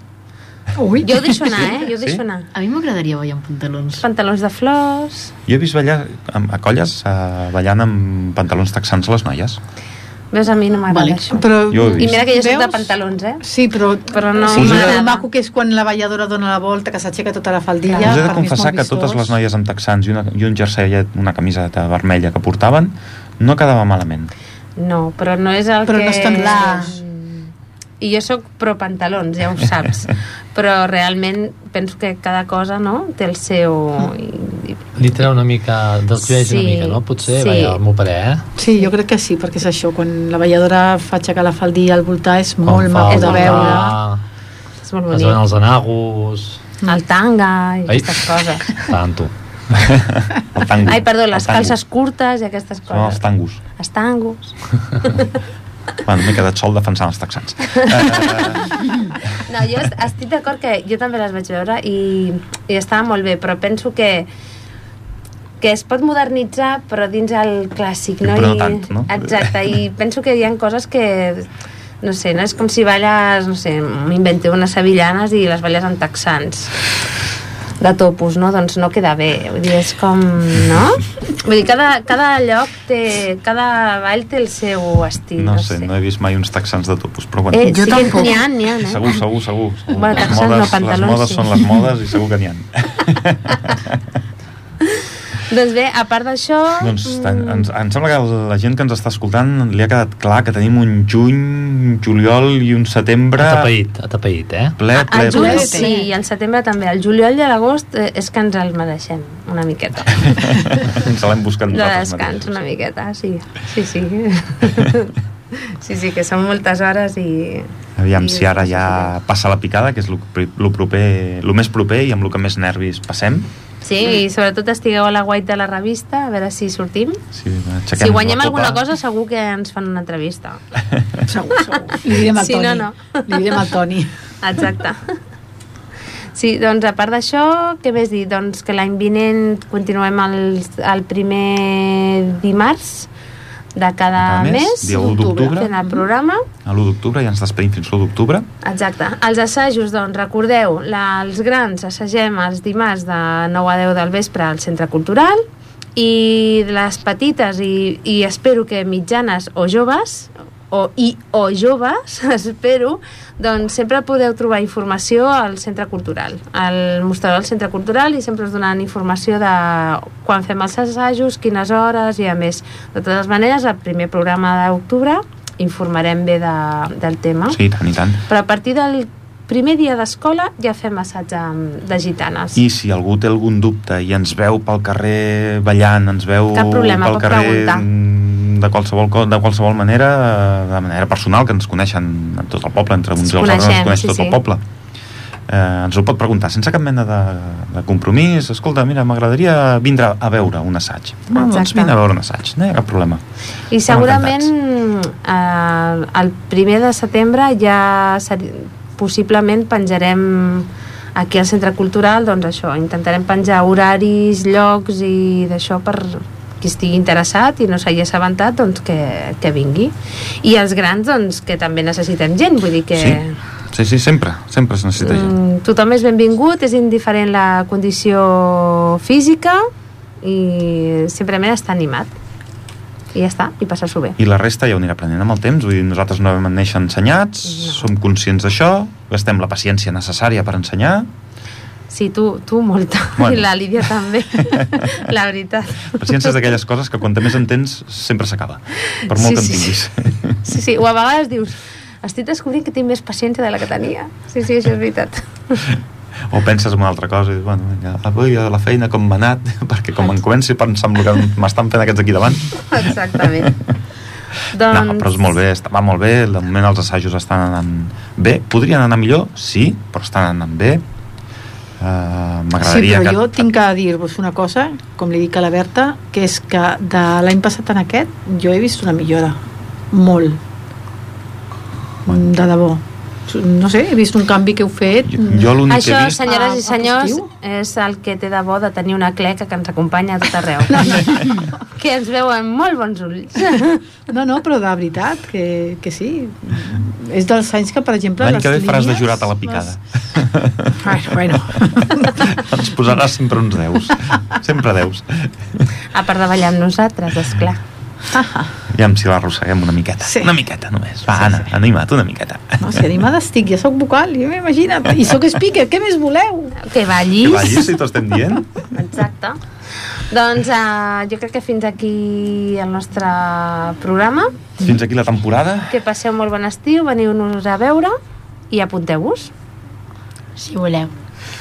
Speaker 3: Ui.
Speaker 1: Jo ho deixo anar, eh? Jo ho
Speaker 2: Sí?
Speaker 1: deixo anar.
Speaker 5: a mi m'agradaria ballar amb pantalons.
Speaker 1: Pantalons de flors...
Speaker 2: Jo he vist ballar amb, a colles uh, ballant amb pantalons texans les noies.
Speaker 1: Veus, a mi no m'agrada
Speaker 5: Vale.
Speaker 1: això.
Speaker 3: Però,
Speaker 2: Jo ho he
Speaker 1: I mira que jo soc de
Speaker 3: Veus?
Speaker 1: pantalons, eh?
Speaker 3: Sí, però,
Speaker 1: Però no
Speaker 3: sí,
Speaker 2: m'agrada.
Speaker 3: el maco que és quan la balladora dona la volta, que s'aixeca tota la faldilla.
Speaker 1: Clar.
Speaker 2: Ja, Us he de
Speaker 3: per mi és
Speaker 2: confessar
Speaker 3: molt
Speaker 2: que totes les
Speaker 3: vistós.
Speaker 2: noies amb texans i, una, i un jerseillet, una camiseta vermella que portaven, no quedava malament.
Speaker 1: No, però no és el
Speaker 3: Però
Speaker 1: que...
Speaker 3: no estan
Speaker 1: la...
Speaker 3: listos.
Speaker 1: I jo sóc pro pantalons, ja ho saps. però realment penso que cada cosa, no?, té el seu... I, i...
Speaker 6: Li treu una mica, desvieix sí,
Speaker 1: Sí,
Speaker 6: una mica, no? Potser,
Speaker 1: sí.
Speaker 6: sí. vaja, el meu parer, eh?
Speaker 3: Sí, jo crec que sí, perquè és això, quan la balladora fa aixecar la faldilla al voltar és
Speaker 6: Com
Speaker 3: molt
Speaker 6: fa
Speaker 3: maco
Speaker 6: el
Speaker 3: de
Speaker 1: voltar.
Speaker 3: veure.
Speaker 1: És molt
Speaker 6: Es veuen
Speaker 1: bonic.
Speaker 6: els anagos...
Speaker 1: El tanga i
Speaker 6: Ai.
Speaker 1: aquestes coses.
Speaker 6: Tanto.
Speaker 2: El tango.
Speaker 1: Ai, perdó, les
Speaker 2: el tango.
Speaker 1: calces curtes i aquestes
Speaker 2: Són els
Speaker 1: coses.
Speaker 2: tangos.
Speaker 1: Els tangos.
Speaker 2: Bueno, m'he quedat sol defensant els texans. Eh,
Speaker 1: No, jo est- estic d'acord que jo també les vaig veure i, i estava molt bé, però penso que que es pot modernitzar però dins el clàssic, no?
Speaker 2: Però no
Speaker 1: I-
Speaker 2: tant, no?
Speaker 1: Exacte, i penso que hi ha coses que no sé, no és com si balles, no sé, m'invento unes sevillanes i les balles en texans de topos, no? Doncs no queda bé. Vull dir, és com... No? Vull dir, cada, cada lloc té... Cada ball té el seu estil.
Speaker 2: Eh, no sé, no he vist mai uns texans de topos, però bueno.
Speaker 1: Eh,
Speaker 5: Jo
Speaker 1: sí que
Speaker 5: tampoc.
Speaker 1: N'hi ha, n'hi ha, eh?
Speaker 2: Segur, segur, segur. segur.
Speaker 1: Bueno,
Speaker 2: les
Speaker 1: texans no,
Speaker 2: modes, les
Speaker 1: pantalons
Speaker 2: modes
Speaker 1: sí.
Speaker 2: són les modes i segur que n'hi ha.
Speaker 1: Doncs bé, a part d'això...
Speaker 2: doncs
Speaker 1: mm,
Speaker 2: tan- ens, em sembla que la gent que ens està escoltant li ha quedat clar que tenim un juny, un juliol i un setembre
Speaker 6: Atapeït, atapeït, eh?
Speaker 2: ple, ple,
Speaker 1: Al
Speaker 2: ple.
Speaker 1: juny sí, i al setembre també. Al juliol i a l'agost eh, és que ens el mereixem una miqueta.
Speaker 2: Ens l'hem buscat
Speaker 1: De
Speaker 2: nosaltres
Speaker 1: descans
Speaker 2: mateixos.
Speaker 1: una miqueta, sí. Sí, sí. Sí, sí, que són moltes hores i... i-
Speaker 2: Aviam si ara ja passa la picada, que és el proper, lo més proper i amb el que més nervis passem.
Speaker 1: Sí, i sobretot estigueu a la guait de la revista, a veure si sortim.
Speaker 2: Si, aixequem
Speaker 1: Si guanyem
Speaker 2: la copa.
Speaker 1: alguna cosa, segur que ens fan una entrevista.
Speaker 3: Segur, segur. Li direm al
Speaker 1: Sí,
Speaker 3: Toni.
Speaker 1: no, no.
Speaker 3: Li direm al Toni.
Speaker 1: Exacte. Sí, doncs a part d'això, què més dir? Doncs que l'any vinent continuem el, el primer dimarts de cada
Speaker 2: Cada mes,
Speaker 1: mes,
Speaker 2: dia u d'octubre.
Speaker 1: fent el programa.
Speaker 2: A l'1 d'octubre, ja ens despedim fins l'1 d'octubre.
Speaker 1: Exacte. Els assajos, doncs, recordeu, la, els grans assagem els dimarts de 9 a 10 del vespre al Centre Cultural i les petites i, i espero que mitjanes o joves o, i, o joves, espero, doncs sempre podeu trobar informació al Centre Cultural, al mostrador del Centre Cultural i sempre us donaran informació de quan fem els assajos, quines hores i a més. De totes maneres, el primer programa d'octubre informarem bé de, del tema.
Speaker 2: Sí, i tant, i tant.
Speaker 1: Però a partir del primer dia d'escola ja fem assaig amb- de gitanes.
Speaker 2: I si algú té algun dubte i ens veu pel carrer ballant, ens veu
Speaker 1: Cap problema,
Speaker 2: pel
Speaker 1: pot
Speaker 2: carrer
Speaker 1: preguntar.
Speaker 2: mm, de qualsevol, co- de qualsevol manera, eh, de manera personal, que ens coneixen en tot el poble, entre uns
Speaker 1: Ens
Speaker 2: i els altres, ens
Speaker 1: coneixem,
Speaker 2: coneix
Speaker 1: sí,
Speaker 2: tot
Speaker 1: sí.
Speaker 2: el poble. Eh, ens ho pot preguntar sense cap mena de, de compromís. Escolta, mira, m'agradaria vindre a veure un assaig. Ah, doncs
Speaker 1: Exacte.
Speaker 2: vine a veure un assaig, no hi ha cap problema.
Speaker 1: I segurament eh, el primer de setembre ja seri... possiblement penjarem aquí al Centre Cultural, doncs això, intentarem penjar horaris, llocs i d'això per qui estigui interessat i no s'hagi assabentat, doncs que, que vingui. I els grans, doncs, que també necessitem gent, vull dir que...
Speaker 2: Sí, sí, sí sempre, sempre es necessita gent.
Speaker 1: Mm, tothom és benvingut, és indiferent la condició física i simplement està animat. I ja està, i passar-s'ho bé.
Speaker 2: i la resta ja ho anirà aprenent amb el temps vull dir, nosaltres no vam néixer ensenyats no. som conscients d'això, gastem la paciència necessària per ensenyar
Speaker 1: Sí, tu, tu molta,
Speaker 2: Bueno.
Speaker 1: bueno. i la Lídia també, la veritat.
Speaker 2: paciència és d'aquelles coses que quanta més en tens sempre s'acaba, per molt
Speaker 1: Sí,
Speaker 2: que en
Speaker 1: sí,
Speaker 2: tinguis
Speaker 1: sí. Sí, sí, o a vegades dius, estic descobrint que tinc més paciència de la que tenia. Sí, sí, això és veritat.
Speaker 2: o penses en una altra cosa i dius, bueno, vinga, avui a la feina com m'ha anat perquè com em comenci a pensar en el que m'estan fent aquests aquí davant
Speaker 1: Exactament. doncs...
Speaker 2: no, però és molt bé, està, va molt bé de moment els assajos estan anant bé podrien anar millor, sí, però estan anant bé uh,
Speaker 3: Sí,
Speaker 2: m'agradaria
Speaker 3: però
Speaker 2: que...
Speaker 3: jo tinc que dir-vos una cosa, com li dic a la Berta, que és que de l'any passat en aquest jo he vist una millora. Molt. De debò. No sé, he vist un canvi que heu fet.
Speaker 2: jo, jo l'únic que
Speaker 1: Doncs,
Speaker 2: he
Speaker 1: Això,
Speaker 2: vist
Speaker 1: senyores i
Speaker 3: Ah,
Speaker 1: senyors,
Speaker 3: positiu?
Speaker 1: és el que té de bo de tenir una cleca que ens acompanya a tot arreu. que ens veuen molt bons ulls.
Speaker 3: No, no, però de veritat, que, que sí. És dels anys que, per exemple...
Speaker 2: L'any
Speaker 3: les
Speaker 2: que ve faràs de
Speaker 3: línies,
Speaker 2: jurat a la picada.
Speaker 3: Les... Bueno, bueno.
Speaker 2: Ens posaràs sempre uns deus. Sempre deus.
Speaker 1: A part de ballar amb nosaltres, esclar.
Speaker 2: Aviam si l'arrosseguem una miqueta.
Speaker 3: Sí.
Speaker 2: Una miqueta només. Va, Anna, anima't una miqueta.
Speaker 3: No, si animada estic, ja sóc vocal, jo imagina't. I sóc speaker, què més voleu?
Speaker 1: Que
Speaker 2: Que
Speaker 1: ballis.
Speaker 2: vagis, si t'ho estem dient.
Speaker 1: Exacte. Doncs uh, jo crec que fins aquí el nostre programa.
Speaker 2: Fins aquí la temporada.
Speaker 1: Que passeu molt bon estiu, veniu-nos a veure i apunteu-vos.
Speaker 4: si voleu.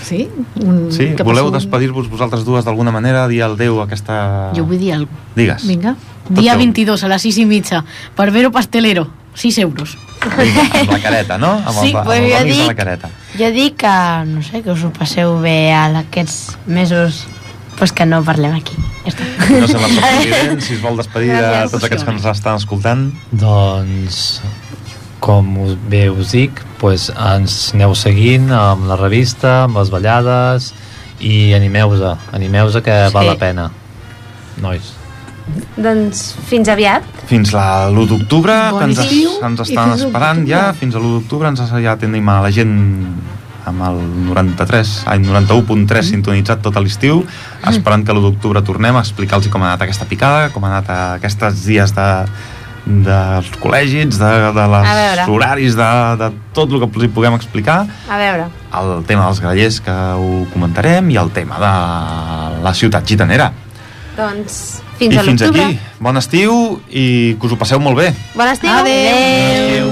Speaker 3: Sí? Un,
Speaker 2: Sí,
Speaker 3: que
Speaker 2: voleu
Speaker 3: passi un-
Speaker 2: despedir-vos vosaltres dues d'alguna manera, dir al Déu aquesta...
Speaker 5: Jo vull dir alguna
Speaker 2: Digues.
Speaker 3: Vinga.
Speaker 5: Día
Speaker 2: Tot
Speaker 5: 22 a las 6 y mitja. Barbero pastelero. 6 euros.
Speaker 2: Vinga, amb la careta, no? Amb
Speaker 4: Sí,
Speaker 2: el, amb
Speaker 4: pues
Speaker 2: el
Speaker 4: jo
Speaker 2: amic de la
Speaker 4: dic-
Speaker 2: careta.
Speaker 4: Jo dic que, no sé, que us ho passeu bé a aquests mesos pues que no parlem aquí. Ja està.
Speaker 2: No sé la president, si es vol despedir de
Speaker 5: Gràcies.
Speaker 2: tots aquests que ens estan escoltant.
Speaker 6: Doncs, com us- bé us dic, doncs ens aneu seguint amb la revista, amb les ballades i animeu-se, animeu-se que sí. val la pena. Nois.
Speaker 1: Doncs fins aviat.
Speaker 2: Fins la l'1 d'octubre,
Speaker 3: Bon
Speaker 2: que ens,
Speaker 3: estiu
Speaker 2: ens
Speaker 3: i
Speaker 2: estan
Speaker 3: fins l'u
Speaker 2: esperant
Speaker 3: d'octubre.
Speaker 2: ja, fins a l'1 d'octubre ens ja tenim a la gent amb el 93, ai, 91.3 sintonitzat tot a l'estiu,
Speaker 3: Mm.
Speaker 2: esperant que l'1 d'octubre tornem a explicar-los com ha anat aquesta picada, com ha anat eh, aquests dies de, dels col·legis, de, de les
Speaker 1: A veure.
Speaker 2: horaris, de, de tot el que els hi puguem explicar,
Speaker 1: A veure.
Speaker 2: el tema dels grallers que ho comentarem i el tema de la ciutat gitanera.
Speaker 1: Doncs fins
Speaker 2: I
Speaker 1: a
Speaker 2: fins
Speaker 1: l'octubre.
Speaker 2: aquí. Bon estiu i que us ho passeu molt bé.
Speaker 1: Bon estiu.
Speaker 3: Adéu.
Speaker 2: Adéu.